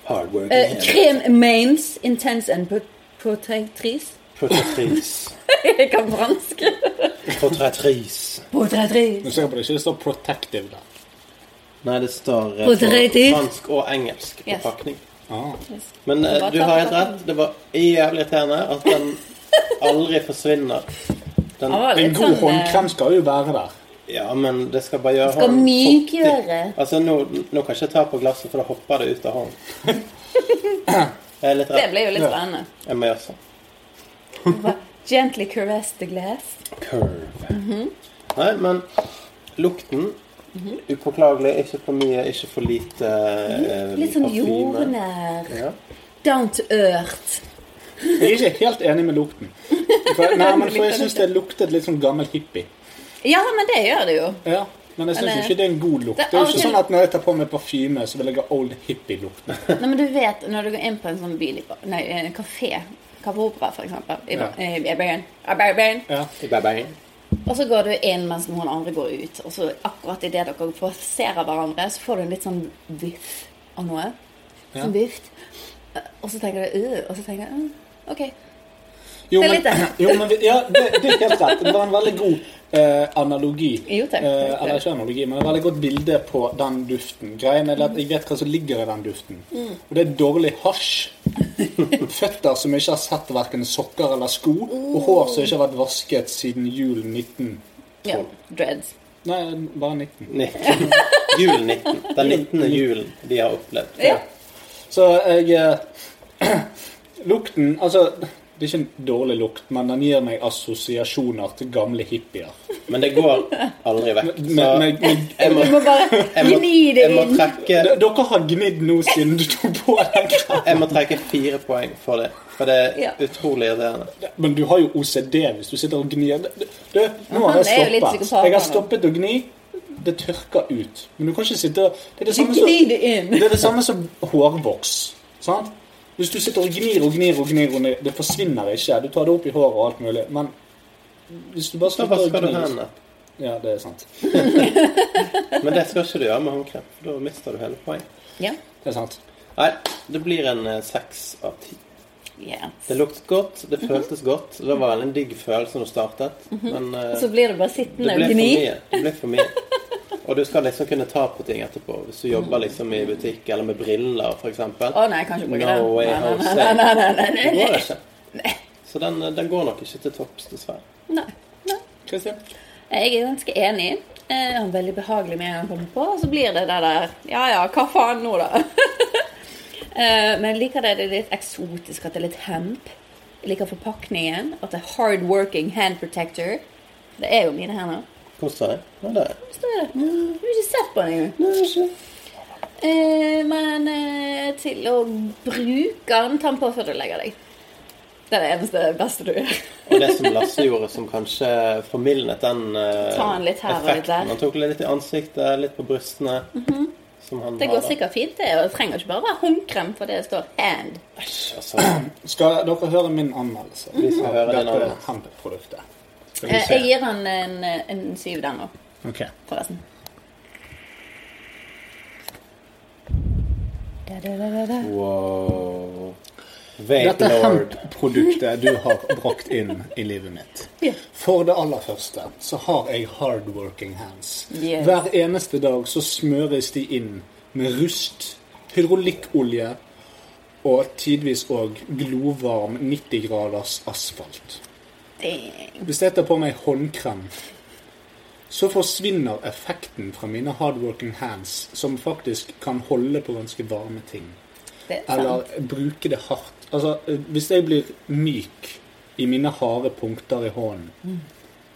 C: hard
D: Eh,
C: working?
D: krem mains intense and pro- protectrice.
C: Portrettrice.
D: Jeg kan fransk.
C: Portrettrice.
E: Jeg
D: Protectrice.
E: er sikker på det ikke det står 'protective' der.
C: Nei, det står eh,
D: Portrettrice.
C: fransk og engelsk på
D: Yes.
C: pakning.
E: Ah.
C: Men eh,
D: Bare
C: du
D: ta
C: har
D: den,
C: helt
D: ta
C: rett. Det var jævlig irriterende at den aldri forsvinner. Den,
D: Han var
E: En
D: litt
E: god
D: sånn, eh,
E: håndkrem skal jo være der.
C: ja, men det skal bare gjøre
D: skal
C: hånden
D: mykgjøre.
C: fuktig. Altså, nå, nå kan jeg ikke ta på glasset, for da hopper det ut av hånden. Jeg er litt
D: Det
C: redd.
D: blir jo litt spennende.
C: Jeg må gjøre sånn.
D: Gently caress the glass.
C: Curve.
D: Mhm.
C: Nei, men lukten Upåklagelig. Ikke for mye, ikke for lite eh,
D: Litt sånn
C: parfyme.
D: jordnær.
C: Ja.
D: Down to earth.
E: Jeg er ikke helt enig med lukten. For, nei, men for jeg syns det luktet litt sånn gammel hippie.
D: Ja, men det gjør det jo.
E: Ja, men jeg syns
D: Eller-
E: ikke det er en god lukt.
D: Det er
E: Det er jo ikke
D: alltid-
E: sånn at når jeg tar på meg parfyme, så vil jeg ha old hippie-lukt.
D: Nei, men du vet, når du går inn på en sånn bil, nei, en kafé, Kaffe Opera for eksempel, i,
E: Ja.
D: i, i Bergen, i Bergen,
E: Ja.
C: I bye-bye.
D: og så går du inn mens noen andre går ut, og så akkurat i det dere passerer hverandre, så får du en litt sånn biff av noe, sånn bift, og så tenker du, øh, og så tenker du, øh, ok,
E: Jo,
D: Det er
E: men,
D: litt det.
E: jo, men vi- ja, det, det er helt rett. Det var en veldig god eh, analogi.
D: Jo, takk.
E: Eh, eller ikke analogi, men et veldig godt bilde på den duften. Greien er at jeg vet hva som ligger i den duften.
D: Mm.
E: Og det er dårlig hasj. Føtter som ikke har sett verken sokker eller sko, og hår som ikke har vært vasket siden jul 19.
D: ja, dreads.
E: Nei, bare 19.
C: 19. Jul 19. Den 19. julen de har opplevd.
D: Ja.
E: Så jeg eh, Lukten Altså, det er ikke en dårlig lukt, men den gir meg assosiasjoner til gamle hippier.
C: Men det går aldri vekk. Så
E: Men, men, men,
C: jeg må,
D: Du må bare
C: jeg må,
D: gni det
C: jeg må
D: inn.
C: trekke
E: D- dere har gnidd nå siden du tok på den.
C: jeg må trekke fire poeng for det, for det
D: Ja.
C: er utrolig irriterende.
E: Men du har jo OCD hvis du sitter og gnir. D- d- Du, nå
D: Han
E: har jeg
D: er jo litt
E: stoppet.
D: psykopat,
E: Jeg har
D: han.
E: stoppet å gni. Det tørker ut. Men du kan ikke sitte og Det er det samme som,
D: Gni det inn.
E: det er det samme som hårvoks. Sant? Hvis du sitter og gnir og gnir og gnir, og gnir det forsvinner ikke. Du tar det opp i håret og alt mulig. Men hvis du bare
C: Da
E: slutter å
C: vasker du
E: gni
C: hendene.
E: Ja, det er sant.
C: Men det skal ikke du gjøre med håndkrem, for da mister du hele poeng.
D: Ja.
E: Det er sant.
C: Nei, det blir en eh, seks av ti.
D: Yes.
C: Det luktet godt, det føltes godt. Det var en digg følelse når du startet, men eh,
D: Mhm. Så blir det bare
C: det
D: sittende
C: ble
D: og
C: for
D: gni.
C: mye. Det ble for mye. Og du skal liksom kunne ta på ting etterpå. Hvis du jobber liksom i butikk eller med briller, for eksempel.
D: Å nei, jeg kan ikke bruke
C: No way,
D: den.
C: Jose.
D: Nei, nei, nei, nei,
C: Det
D: nei,
C: går
D: nei.
C: ikke. Så den, den går nok ikke til topps, dessverre.
D: nei. nei.
E: Kristian?
D: Jeg er ganske enig. Jeg har veldig behagelig med en gang jeg kommer på, og så blir det det der Ja ja, hva faen nå, da? Eh, Men jeg liker det, det er litt eksotisk, at det er litt hemp. Jeg liker forpakningen. At det er hard working hand protector. Det er jo mine hender.
C: Koser deg? Ja, det er jeg.
D: Så det- Du har ikke sett på den engang. Eh, Men eh, til å bruke den, ta den på før du legger deg. Det er det eneste beste du gjør.
C: Og det som Lasse gjorde, som kanskje formildnet den eh,
D: Ta han litt her og litt
C: effekten.
D: der. Mhm.
C: Han tok litt i ansiktet, litt på brystene. Som han
D: Det
C: har,
D: går
C: da.
D: sikkert fint, det. Og det trenger ikke bare være håndkrem, for det står 'hand'.
C: Æsj, altså.
E: Skal dere høre min anmeldelse?
C: Vi skal høre din
E: Dette
C: anmeldelse.
E: hempproduktet.
D: Eh, Jeg gir han en, en syv der nå,
E: Ok.
D: forresten.
C: Wow.
E: Dette
C: Vape Lord.
E: hempproduktet du har brakt inn i livet mitt.
D: Ja.
E: For det aller første så har jeg hardworking hands.
D: Yes.
E: Hver eneste dag så smøres de inn med rust, hydraulikkolje og tidvis òg glovarm 90 graders asfalt.
D: Dang.
E: Hvis jeg tar på meg håndkrem, så forsvinner effekten fra mine hardworking hands, som faktisk kan holde på ganske varme ting.
D: Det er
E: Eller
D: sant.
E: bruke det hardt. Altså, eh, hvis jeg blir myk i mine harde punkter i hånden,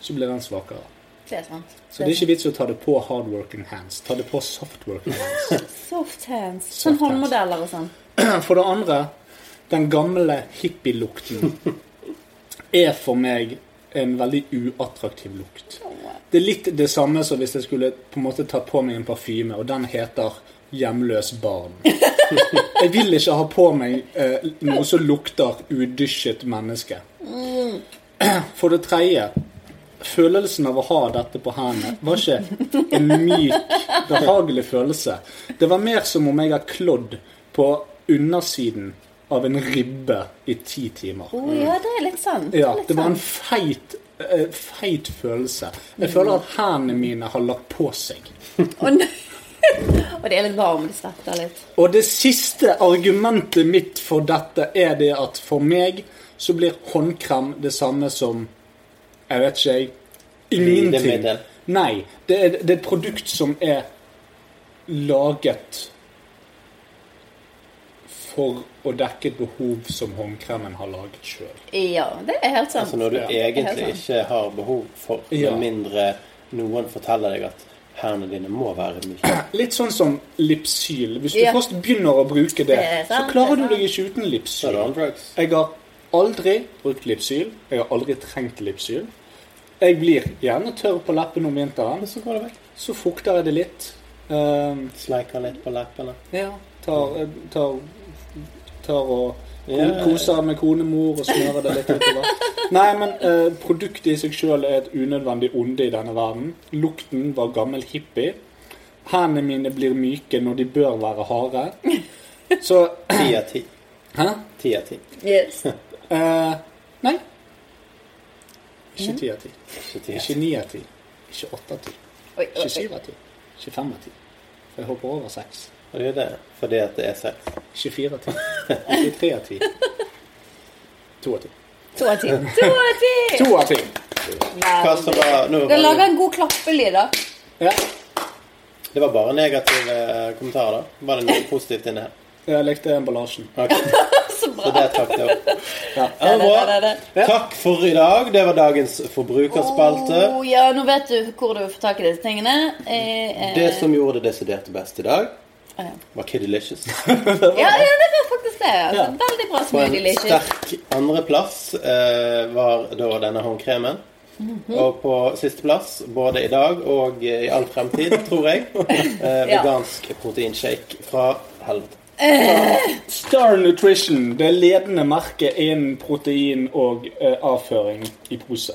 E: så blir den svakere.
D: Det er sant.
E: Så Mm. det er ikke vits å ta det på hardworking hands. Ta det på softworking hands.
D: Soft hands. Sånn
E: Soft hands.
D: håndmodeller og sånn.
E: For det andre, den gamle hippielukten er for meg en veldig uattraktiv lukt. Det er litt det samme som hvis jeg skulle på en måte ta på meg en parfyme, og den heter 'Hjemløs barn'. Jeg vil ikke ha på meg eh, noe som lukter udysjet menneske. For det tredje Følelsen av å ha dette på hendene var ikke en myk, behagelig følelse. Det var mer som om jeg har klådd på undersiden av en ribbe i ti timer.
D: Å ja, det er litt sant. Det er
E: Ja,
D: litt
E: det var en
D: sant.
E: feit, eh, feit følelse. Jeg føler at hendene mine har lagt på seg.
D: Å, nei. Og det er litt varmt, det svetter litt.
E: Og det siste argumentet mitt for dette er det at for meg så blir håndkrem det samme som Jeg vet ikke, jeg. Ingenting.
C: Glidemiddel.
E: Nei. Det er, det er et produkt som er laget for å dekke et behov som håndkremen har laget sjøl.
D: Ja, det er helt sant.
C: Altså når du
E: Ja.
C: egentlig
D: Helt sant.
C: ikke har behov for,
E: Ja.
C: med mindre noen forteller deg at hendene dine må være myke.
E: Litt sånn som lipsyl. Hvis du
D: Ja.
E: først begynner å bruke det,
D: Det er sant,
E: så klarer
D: det
E: du
D: er
E: deg ikke uten
C: Så er
E: lipsyl.
C: du on drugs.
E: Jeg har aldri brukt lipsyl. Jeg har aldri trengt lipsyl. Jeg blir gjerne tørr på leppen om vinteren.
C: Men så går det vekk.
E: Så fukter jeg det litt. Ehm,
C: Sleiker litt på leppene.
E: ja, tar, eh, tar, tar og ko-
C: Ja.
E: koser med konemor og smører det litt utover. Nei, men eh, produktet i seg sjøl er et unødvendig onde i denne verden. Lukten var gammel hippie. Hendene mine blir myke når de bør være harde. Så
C: Ti av ti.
E: Hæ?
C: Ti av ti.
D: Yes.
E: Eh, nei. Ikke ti av ti.
C: Ikke ti av
E: Ikke
C: ti.
E: ni av ti. Ikke åtte av ti.
D: Oi, oi,
E: Ikke
D: oi.
E: syv av ti. Ikke fem av ti. For jeg hopper over seks.
C: Og det er jo det. Fordi at det er sex.
E: Ikke fire av ti. Ikke tre av ti. To av ti.
D: To av ti. To av ti!
E: To av ti!
C: Hva som var nå
D: Det lager en god klappelyd, da.
E: Ja.
C: Det var bare negative eh, kommentarer, da. Var det noe positivt inni her?
E: Jeg likte emballasjen.
C: Ok,
D: Så
C: så
D: bra.
C: det trakk det opp. Ja, det
D: Det, det,
C: var
D: det,
C: bra. Takk for i dag. Det var dagens forbrukerspalte.
D: Oh, ja, nå vet du hvor du får tak i disse tingene. Eh, eh,
C: Det som gjorde det desidert best i dag,
D: Ah, Ja.
C: var Kid Delicious.
D: ja, ja, det var faktisk det. Altså. Veldig bra
C: På en
D: smoothie delicious.
C: sterk andreplass eh, var da denne håndkremen.
D: Mhm.
C: Og på sisteplass, både i dag og eh, i all fremtid, tror jeg, eh,
D: Ja.
C: vegansk proteinshake fra helvete.
E: Star Nutrition, det ledende merket innen protein og eh, avføring i pose.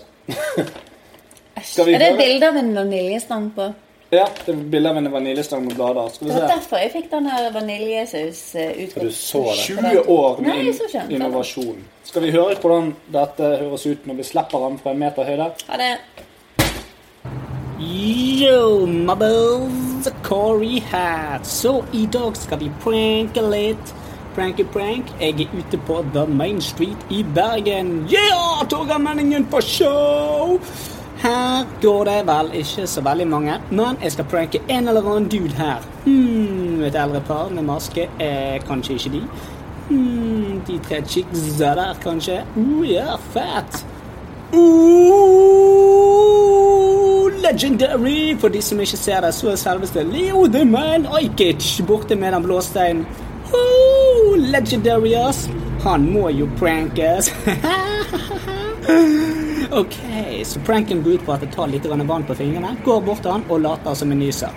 E: Skal vi
D: Er det
E: prøve?
D: et bilde av en vaniljestang på?
E: Ja, det er bilde av en vaniljestang med blader. Skal vi
D: Det var
E: se.
D: derfor jeg fikk den her eh, vaniljesaus-utgått.
C: For du så det.
E: 20 år
D: Nei,
E: med
D: jeg så ikke den.
E: innovasjon. Skal vi høre hvordan dette høres ut når vi slipper den fra en meter høyde?
D: Ha det.
F: Yo, Mubbles! Corey her. Så i dag skal vi pranke litt. Pranky prank. Jeg er ute på The Main Street i Bergen. Yeah! Torgeir Menningen på show! Her går det vel ikke så veldig mange, men jeg skal pranke en eller annen dude her. Hmm, et eldre par med maske. Eh, kanskje ikke de. Hmm, de tre chicksa der, kanskje. Oh yeah, fett! Ooh, legendary! For de som ikke ser det, så er selveste Leo the Man Ajkic borte med den blå steinen. Ooh, legendary, ass! Han må jo prankes. ok, så pranken går ut på at jeg tar litt grann vann på fingrene, går bort til han og later som jeg nyser.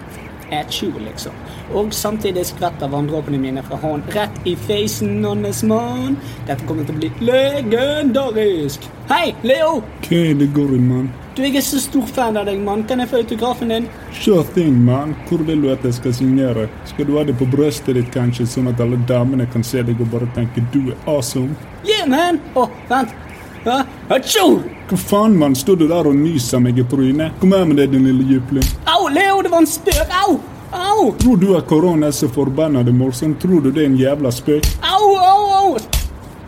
F: Atchu, liksom. Og samtidig skvetter vanndråpene mine fra hånden rett i facen hans mann. Dette kommer til å bli legendarisk. Hei, Leo!
G: Hva er det går i, mann?
F: Du, jeg er så stor fan av deg, mann. Kan jeg få autografen din?
G: Sure thing, mann. Hvor vil du at jeg skal signere? Skal du ha det på brøstet ditt, kanskje, sånn at alle damene kan se deg og bare tenke du er awesome?
F: Yeah, man! Å, vent. Hæ? Atchu!
G: Hva faen, mann? Står du der og nyser meg i trynet? Kom her med deg, din lille jypling.
F: Au, Leo, det var en spøk! Au! Au!
G: Tror du at korona er så forbanna morsomt? Tror du det er en jævla spøk?
F: Au, au, au!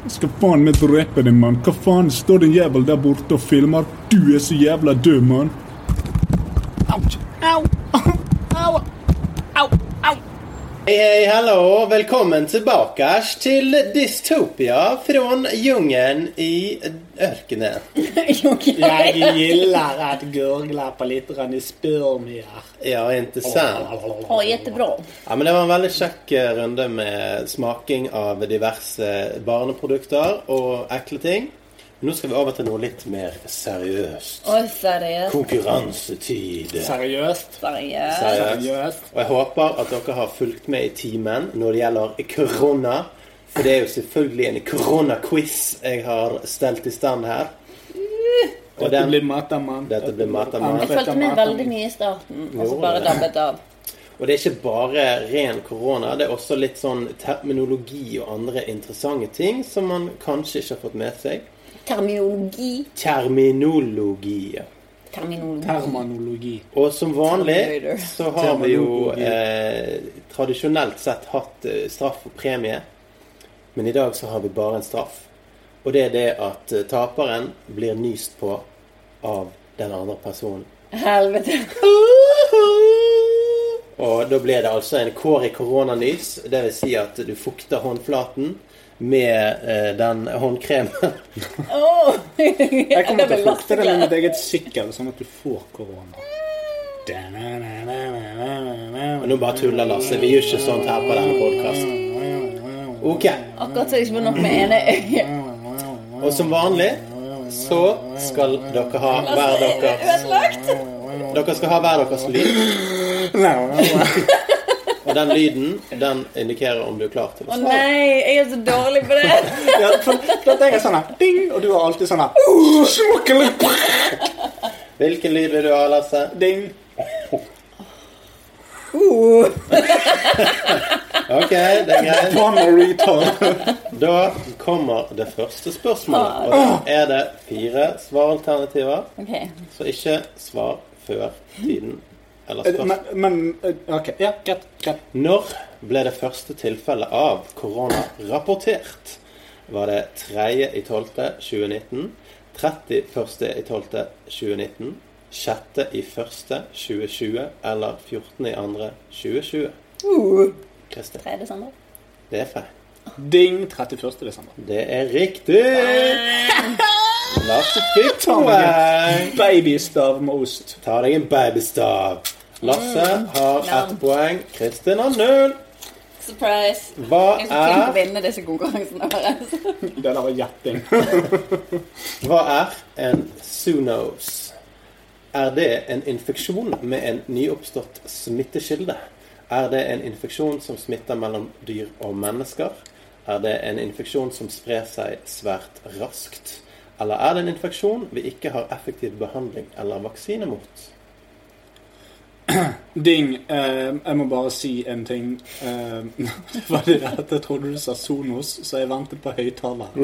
G: Jeg skal faen meg drepe deg, mann. Hva faen? Står den jævel der borte og filmer? Du er så jævla død, mann.
F: Ouch. Au! Au! Au! Au!
C: Hei, hei, hallo. Velkommen tilbake til Dystopia fra jungelen i ørkenen.
E: Jeg gillar at gurgla på litt rann i spermier.
C: Ja, ikke sant?
D: Ha jättebra.
C: Ja, men Det var en veldig kjekk eh, runde med smaking av diverse barneprodukter og ekle ting. Men nå skal vi over til noe litt mer seriøst.
D: Oi, seriøst.
C: Konkurransetid.
E: Seriøst?
D: Seriøst.
C: Seriøst.
E: Seriøst.
C: Og jeg håper at dere har fulgt med i timen når det gjelder korona. For det er jo selvfølgelig en koronaquiz jeg har stelt i stand her. Og
E: Dette
C: den,
E: blir matamann.
C: dette blir
D: Jeg
C: matamat.
D: følte meg veldig mye i starten, og så bare dabbet av.
C: Og det er ikke bare ren korona. Det er også litt sånn terminologi og andre interessante ting som man kanskje ikke har fått med seg.
D: Terminologi.
C: Terminologi.
D: Terminologi.
E: Terminologi.
C: Og som vanlig
D: Terminator.
C: så har vi jo
E: Terminologi.
C: eh, tradisjonelt sett hatt eh, straff og premie. Men i dag så har vi bare en straff. Og det er det at eh, taperen blir nyst på av den andre personen.
D: Helvete.
C: Og da blir det altså en Kåri koronanys. Det vil si at du fukter håndflaten med eh, den håndkremen.
D: Åh!
E: Jeg kommer til å fukte det med
D: lasteklær.
E: mitt eget sykkel, sånn at du får korona.
C: Og nå bare tuller Lasse. Vi gjør ikke sånt her på denne podkasten. Ok.
D: Akkurat så det ikke var nok med ene øyet.
C: Og som vanlig så skal dere ha hver deres
D: Ødelagt.
C: Dere skal ha hver deres lyd. Og den lyden den indikerer om du er klar til
D: Å
C: å svare.
D: nei, jeg er så dårlig på det.
E: Ja, for, for at jeg er sånn her ding, og du har alltid sånn her «Uh, smakelig,
C: Hvilken lyd vil du ha, Lasse?
E: ding.
C: Ok, det er greit.
E: Banna retard.
C: Da kommer det første spørsmålet. Og da er det fire svaralternativer,
D: Ok,
C: så ikke svar før tiden eller
E: Men,
C: spørsmålet.
E: men eh, OK. Ja, greit. greit.
C: Når ble det første tilfellet av korona rapportert? Var det 3.12.2019? 31.12.2019? 6. i første 2020 eller 14. i andre 2020. Kristin,
D: Hva er det, Sander?
C: det er feil.
E: Ding 31. desember.
C: Det er riktig! Lasse fikk poeng!
E: Babystav med ost.
C: Ta deg en babystav. Lasse har ett
D: Nam.
C: poeng. Kristin har null.
D: Surprise!
C: Hva
D: Jeg er så flink til å
C: er,
D: vinne disse konkurransene våre.
E: Det der var gjetting.
C: hva er en zoonos? Er det en infeksjon med en nyoppstått smittekilde? Er det en infeksjon som smitter mellom dyr og mennesker? Er det en infeksjon som sprer seg svært raskt? Eller er det en infeksjon vi ikke har effektiv behandling eller vaksine mot?
E: Ding, eh, jeg må bare si en ting. Eh, var det dette trodde du sa Sonos, så jeg ventet på høyttaler.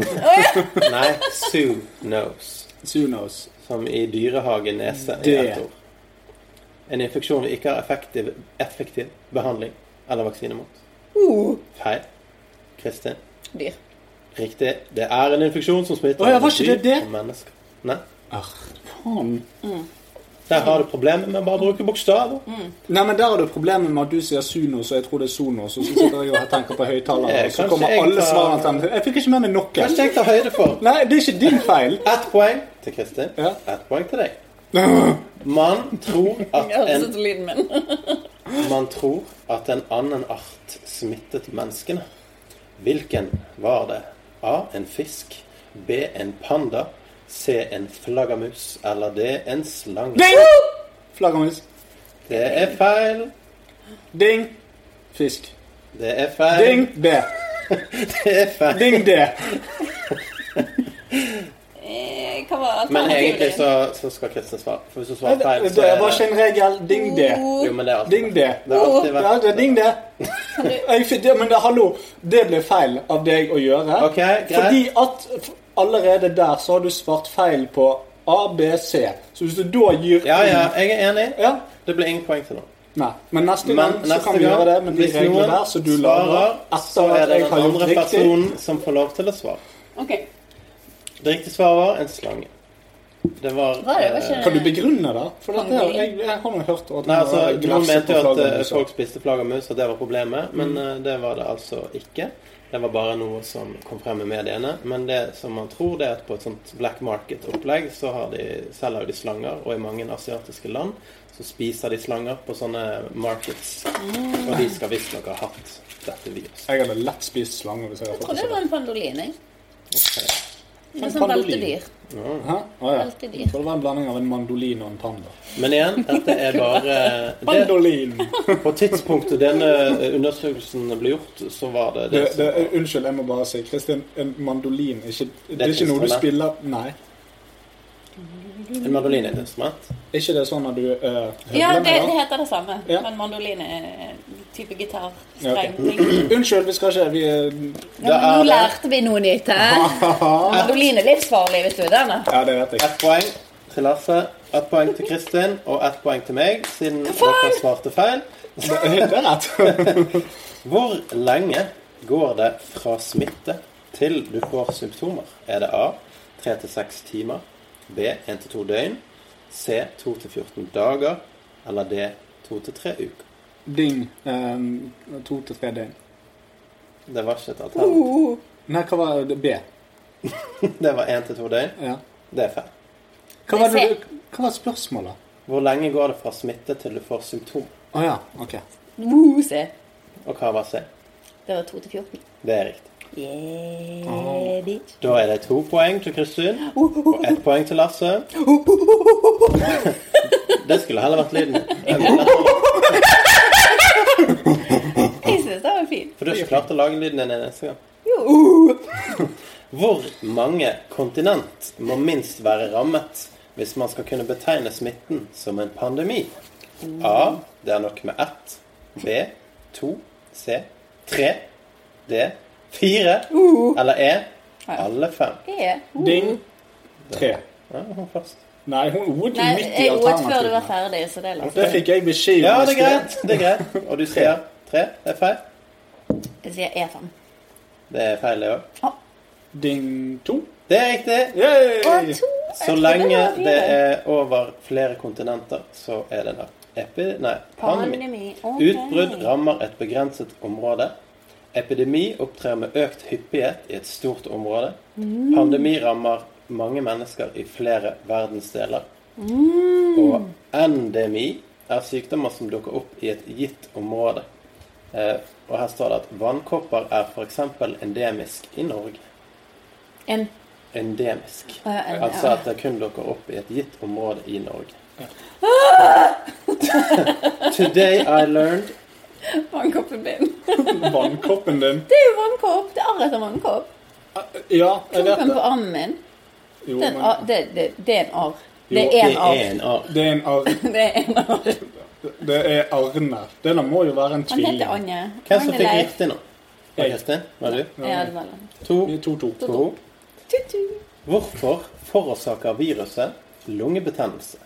C: Nei, zoonos.
E: Sonos.
C: Som i dyrehage nese i
E: Det.
C: ett ord. En infeksjon vi ikke har effektiv, effektiv behandling eller vaksine mot.
E: Oh.
C: Feil. Kristin.
D: Dyr.
C: Riktig. Det er en infeksjon som smitter
E: Å ja, var
C: over
E: ikke
C: dyr
E: det det?
C: og mennesker. Nei.
E: Arr, faen.
C: Der har du problemet med å bare bruke bokstaver.
E: Nei, men Der har du problemet med at du sier Sonos, og jeg tror det er Sonos. Og så sitter jeg og tenker på høyttaler, og så
C: Kanskje
E: kommer
C: jeg
E: alle
C: tar-
E: svarene til meg. Jeg fikk ikke med meg noe.
C: Kanskje jeg tar høyde for.
E: Nei, det er ikke din feil.
C: Ett poeng til Kristin.
E: Ja.
C: Ett poeng til deg. Man tror at
D: Jeg hørte
C: en
D: ut lyden min.
C: Man tror at en annen art smittet menneskene. Hvilken var det? A. En fisk. B. En panda. C. En flaggermus. Eller D. En slange.
E: Flaggermus.
C: Det er feil.
E: Ding. Fisk.
C: Det er feil.
E: Ding. B.
C: Det er feil.
E: Ding. D.
D: Eh, Hva var
C: Men egentlig
D: alternativet?
C: så, så skal Kristin svare. For hvis hun
E: Det
C: svarer feil, så
E: var ikke en regel. Ding. D.
C: Jo, men det er alltid
E: Ding. D.
C: Det har alltid
E: Ja,
C: vært
E: det er ding, det. Jeg, fikk- det- men det, hallo, det ble feil av deg å gjøre.
C: Ok, greit.
E: Fordi at f- allerede der så har du svart feil på A, B, C. Så hvis du da gir
C: Ja, ja, jeg er enig.
E: Ja.
C: Det ble ingen poeng til nå.
E: Nei, men neste gang
C: Men
E: så kan
C: neste
E: vi
C: gang,
E: gjøre det med de
C: hvis
E: reglene
C: noen
E: der, så du
C: svarer,
E: lager
C: så
E: etter
C: er
E: at
C: det
E: jeg
C: den
E: har gjort
C: andre
E: riktig.
C: personen som får lov til å svare.
D: Ok.
C: Det riktige svaret var en slange. Det var,
D: Var det, var
C: eh,
D: ikke...
E: Kan du begrunne det? For dette,
D: Kan
E: her-
D: vi-
E: jeg, jeg har nå hørt at
C: Nei, altså,
E: man
C: Noen
E: glefser
C: mente
E: på
C: jo at eh,
E: flaggermuser.
C: folk spiste flaggermus, at det var
E: Mm.
C: problemet. Men eh, det var det altså ikke. Det var bare noe som kom frem i mediene. Men det som man tror, det er at på et sånt black market-opplegg så har de, selger jo de slanger. Og i mange asiatiske land så spiser de slanger på sånne markets.
E: Mm.
C: Og de skal visstnok ha hatt dette viruset.
E: Jeg hadde lett spist slange hvis jeg hadde
D: Jeg trodde
E: fått
D: det var en pandolin, jeg. Det er
E: En
D: sånn
E: pandolin?
D: veltedyr.
E: Hæ? Å, ja.
D: Veldig dyrt.
E: Jeg tror det var en blanding av en mandolin og en panda.
C: Men igjen, dette er bare det,
E: Mandolin!
C: På tidspunktet denne eh, undersøkelsen ble gjort, så var det
E: Det,
C: det
E: det,
C: som var
E: unnskyld, jeg må bare si Kristin, en mandolin er ikke, det er
C: et
E: ikke noe du
C: instrument.
E: spiller Nei.
C: En mandolin er et instrument.
E: Er ikke det sånn at du eh, høvler
D: Ja,
E: med
D: det,
E: det?
D: det heter det samme.
E: Ja.
D: Men mandolin er en type gitar.
E: Ja, ok.
D: Streng ting.
E: Unnskyld, vi skal ikke vi, eh,
D: Ja, men
C: er
D: nå
C: det.
D: lærte vi noe nytt her. Mandolin er livsfarlig, vet du. Den er.
E: Ja, det vet jeg.
C: Ett poeng til Lasse, ett poeng til Kristin og ett poeng til meg, siden dere svarte feil.
E: Det det er rett.
C: Hvor lenge går det fra smitte til du får symptomer? Er det A 3-6 timer, B 1-2 døgn, C 2-14 dager eller D 2-3 uker?
E: Ding. ehm, to til tre døgn.
C: Det var ikke et alternativ.
E: Nei, hva var det? B?
C: Det var 1-2 døgn.
E: Ja.
C: Det er feil.
E: Hva var,
D: C.
E: det, du- hva var spørsmålet?
C: Hvor lenge går det fra smitte til du får symptomer?
E: Å ja, ok.
D: Woo, se.
C: Og hva var C?
D: Det var 2 til 14.
C: Det er riktig.
D: Yeah, bitch.
C: Da er det to poeng til Kristin og ett poeng til Lasse. Det skulle heller vært lyden.
D: Jeg synes det var fint.
C: For du har ikke klart å lage lyden din neste gang. Hvor mange kontinent må minst være rammet hvis man skal kunne betegne smitten som en pandemi? A. Det er nok med ett. B. To. C. Tre. D. Fire. Eller E. Alle fem.
D: Yeah.
E: Ding. Tre.
C: Ja, hun først.
E: Nei, hun ordet
D: Nei,
E: midt i
D: jeg åt før du var
E: alternativene.
D: ferdig, så det er langt.
E: Det fikk jeg beskjed om.
C: Ja,
E: i
C: det er
E: sted.
C: greit. Det er greit. Og du sier tre. Det er feil.
D: Jeg sier E E5.
C: Det er feil, det òg.
E: Ding to.
C: Det er riktig.
E: Yay!
D: Og to.
C: Så lenge det er over flere kontinenter, så er det da epi... Nei, pandemi.
D: Pandemi. ok.
C: Utbrudd rammer et begrenset område. Epidemi opptrer med økt hyppighet i et stort område. Pandemi rammer mange mennesker i flere verdensdeler. Mm. Og endemi er sykdommer som dukker opp i et gitt område. Eh, og her står det at vannkopper er f.eks. endemisk i Norge.
D: En
C: Endemisk.
D: Å, ja, en-
C: Altså
D: ja.
C: at det kun dukker opp i et gitt område i Norge.
D: Ah!
C: Today I learned
D: vannkoppen min.
E: Vannkoppen din.
D: Det er jo vannkopp. Det er arr etter vannkopp.
E: Ja, jeg vet
D: Klumpen
E: det.
D: på armen min.
E: Jo,
D: Det er en
E: men
D: arr. Det, det, det er en arr. Det
C: det
D: er en
C: er
D: arr.
C: en arr.
E: det er en arr.
D: Det er en arr.
E: Det er Arne. Det der må jo være en
D: Han
E: tvilling.
D: heter Anje.
C: Hvem som
D: Anje
C: fikk
D: Leif.
C: riktig nå? Var det Kristin? Var det du?
D: Ja, det var han.
C: To
E: Vi er to-to.
C: på henne.
D: Tutu.
C: Hvorfor forårsaker viruset lungebetennelse?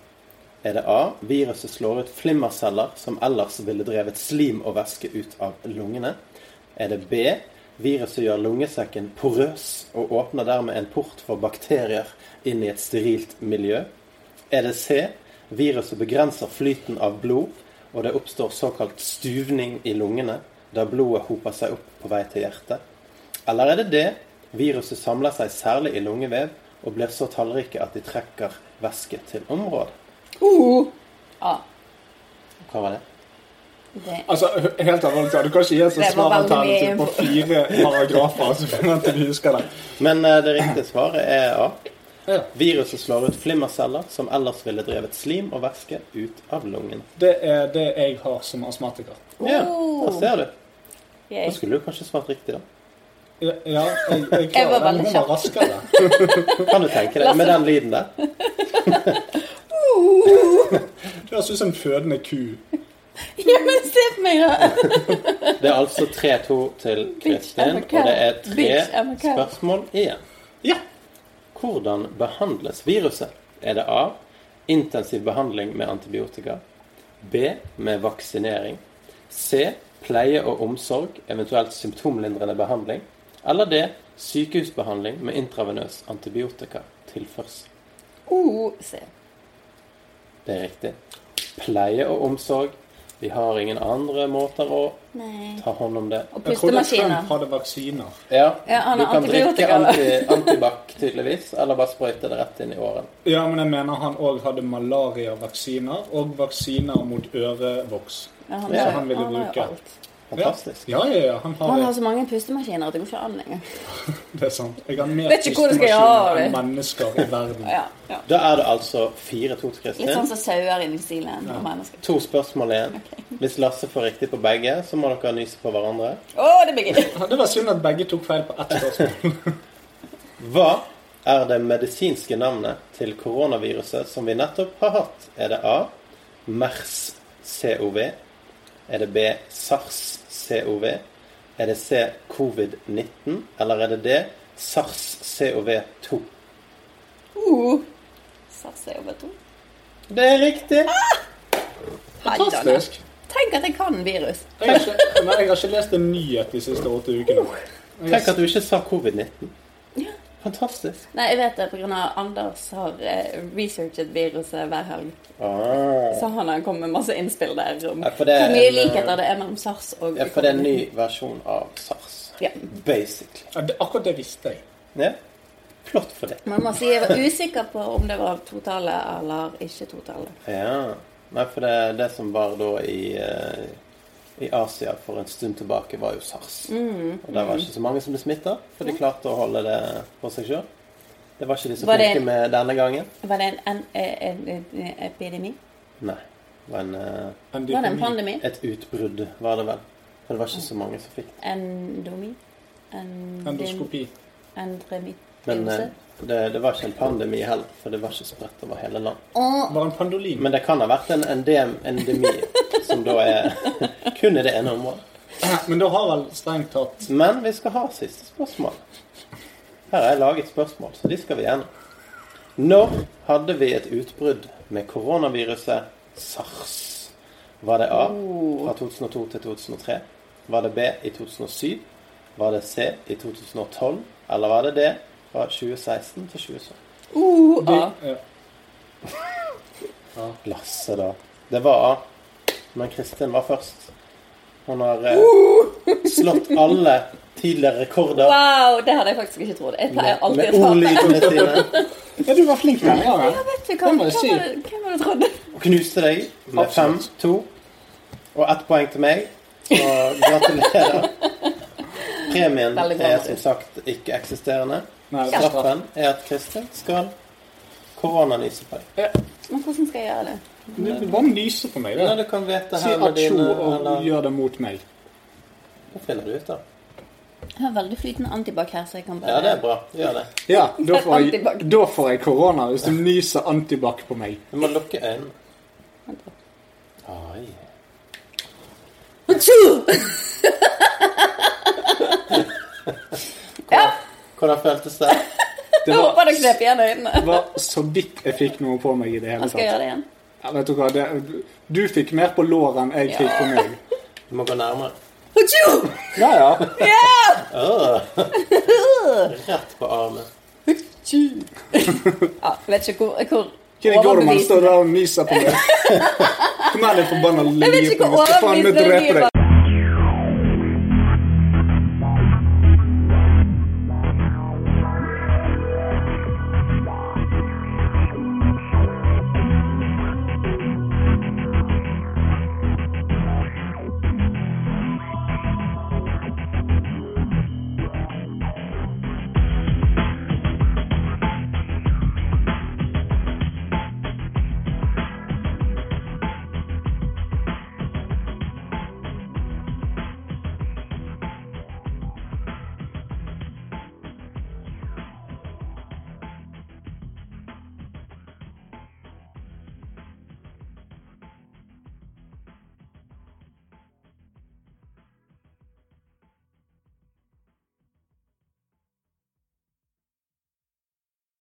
C: Er det A. Viruset slår ut flimmerceller som ellers ville drevet slim og væske ut av lungene? Er det B. Viruset gjør lungesekken porøs og åpner dermed en port for bakterier inn i et sterilt miljø? Er det C. Viruset begrenser flyten av blod, og det oppstår såkalt stuvning i lungene, der blodet hoper seg opp på vei til hjertet? Eller er det det? Viruset samler seg særlig i lungevev og blir så tallrike at de trekker væske til området.
D: Uh. Ja,
C: Hva var det?
D: det
E: Altså, h- helt alvorlig talt, Du kan ikke gi oss
D: Det
E: et
D: var veldig
E: svaralternativ på
D: mye
E: fire paragrafer. så for at vi husker det.
C: Men eh, det riktige svaret er A.
E: Ja.
C: Viruset slår ut flimmerceller som ellers ville drevet slim og væske ut av lungene.
E: Det er det jeg har som astmatiker.
C: Ja,
D: Oh.
C: der ser du.
D: Yay.
C: Da skulle du kanskje svart riktig, da.
E: Ja, ja, jeg, jeg,
D: Jeg var
E: klarer den.
D: veldig
E: Hun var
D: kjapp.
E: raskere.
C: Kan du tenke deg med den lyden der?
E: Det høres ut som en fødende ku.
D: Ja, men se på meg, da!
C: Det er altså 3-2 til Kristin,
D: I'm a cow.
C: og det er
D: Bitch,
C: tre
D: I'm a cow.
C: spørsmål igjen.
E: Ja.
C: Hvordan behandles viruset? Er det A. Intensiv behandling med antibiotika. B. Med vaksinering. C. Pleie og omsorg, eventuelt symptomlindrende behandling. Eller D. Sykehusbehandling med intravenøs antibiotikatilførsel.
D: Oh, se.
C: Det er riktig. Pleie og omsorg. Vi har ingen andre måter å
D: Nei.
C: ta hånd om det.
D: Og
E: Jeg trodde Trump
D: pustemaskiner.
E: hadde vaksiner.
C: Ja,
D: Ja, han
C: du
D: har
C: kan drikke
D: antibiotika, da.
C: anti, antibac tydeligvis, eller bare sprøyte det rett inn i åren.
E: Ja, men jeg mener han òg hadde malariavaksiner og vaksiner mot ørevoks.
D: Ja, han,
C: Ja,
D: har-
E: han ville
D: han har jo
E: bruke.
D: alt.
C: Fantastisk.
E: Ja, ja, ja, han har
D: Han har
E: det.
D: så mange pustemaskiner at det går ikke an lenger.
E: Det er sant. Jeg har mer
D: Vet ikke hvor du skal
E: pustemaskiner
D: gjøre
E: enn
D: det.
E: mennesker i verden.
D: Ja, ja.
C: Da er det altså 4-2 til Kristin.
D: Litt sånn som sauer i New Zealand og mennesker.
C: To spørsmål igjen. Hvis Lasse får riktig på begge, så må dere nyse på hverandre.
D: Å, det blir gøy!
E: Ja, Det var synd at begge tok feil på ett spørsmål.
C: Hva er det medisinske navnet til koronaviruset som vi nettopp har hatt? Er det A. MERS-CoV? Er det B. SARS-CoV? Er det C. Covid-19? Eller er det D. SARS-CoV-2?
D: Uh. Sats er over to.
C: Det er riktig!
D: Hei, Danne.
E: Fantastisk.
D: Tenk at jeg kan virus.
E: Jeg har, ikke, nei, jeg har ikke lest en nyhet de siste åtte ukene.
D: Uh.
C: Tenk at du ikke sa covid-19.
D: Ja.
C: Fantastisk.
D: Nei, jeg vet det pga. Anders har eh, researchet viruset hver helg.
C: Ah.
D: Så han har kommet med masse innspill der om
C: Ja, for det er
D: hvor mye
C: en, eh,
D: likheter det er mellom sars og
C: Ja, for det er en ny versjon av SARS.
D: Ja.
C: Basically.
E: Ja, det, akkurat det visste jeg.
C: Ja. Flott for deg.
D: Man må si jeg var usikker på om det var totallet eller ikke totallet.
C: Ja. Nei, for det, det som var da i, eh, i Asia for en stund tilbake, var jo sars. Og der var ikke så mange som ble smitta, for de klarte å holde det på seg sjøl. Det var ikke de så
D: Var det-
C: flinke med denne gangen.
D: Var det en, en, en, en, en epidemi?
C: Nei. Det var en, eh,
E: Men de
D: Var det en
E: kom i-
D: pandemi?
C: et utbrudd, var det vel. For det var ikke så mange som fikk det.
D: Endomi? Endem-
E: Endoskopi.
D: Endremi?
C: Men eh,
D: Endose?
C: det, det var ikke en pandemi heller, for det var ikke spredt over hele land.
D: Å,
E: Var det en pandolin?
C: Men det kan ha vært en endem, endemi, som da er kun i det ene området.
E: Men da har vel strengt tatt
C: Men vi skal ha siste spørsmål. Her har jeg laget spørsmål, så de skal vi gjennom. Når hadde vi et utbrudd med koronaviruset sars? Var det A fra 2002 til 2003? Var det B i 2007? Var det C i 2012? Eller var det D fra 2016 til 2017?
D: Uh, ah.
C: Lasse, da. Det var A. Men Kristin var først. Hun har eh, slått alle tidligere rekorder
D: Wow, det hadde jeg faktisk ikke trodd. Jeg pleier
C: med
D: alltid å svare.
C: ordlydene sine.
E: Ja, du var flink denne gangen.
D: Vet du hva,
E: Hvem
D: hvem
E: var
D: var
E: det syv?
D: det- hvem var det du trodde?
C: Og knuste deg med fem, to. Og ett poeng til meg. Så gratulerer. Premien
D: Veldig bra,
C: er
D: Martin.
C: som sagt ikke-eksisterende.
E: Nei, det var straff.
C: Straffen er at Kristin skal koronanyse på deg.
D: Men hvordan skal jeg gjøre det?
E: Du du bare nyser på meg.
C: Ja,
E: det.
C: du kan vite
E: Si
C: her med
E: atsjo
C: dine
E: og
C: eller
E: gjør det mot meg.
C: Nå finner du ut, da.
D: Jeg har veldig flytende antibac her, så jeg kan bare
C: Ja, det er bra. Gjør det.
E: Ja, da får jeg,
D: Antibac.
E: da får jeg korona hvis du nyser antibac på meg.
C: Du må lukke øynene. Oi.
D: Ja,
C: Hvordan føltes det?
E: Det
D: jeg håper
E: var,
D: det knep igjen øynene.
E: var så vidt jeg fikk noe på meg i det hele
D: Han skal gjøre
E: tatt.
D: det igjen.
E: Ja, vet du hva, det, du fikk mer på låret enn jeg fikk på meg.
C: Du må gå nærmere.
D: Hachu!
E: Ja, ja.
C: Rett på armen.
D: Hachu! Ja, jeg vet ikke hvor, hvor
E: Kiri Gorman
D: overbevisende-
E: står der og nyser på meg. Kom her, din forbanna
D: Jeg vet ikke
E: løye.
D: hvor
E: Jeg skal faen meg
D: overbevisende
E: drepe
D: de
E: deg.
D: var.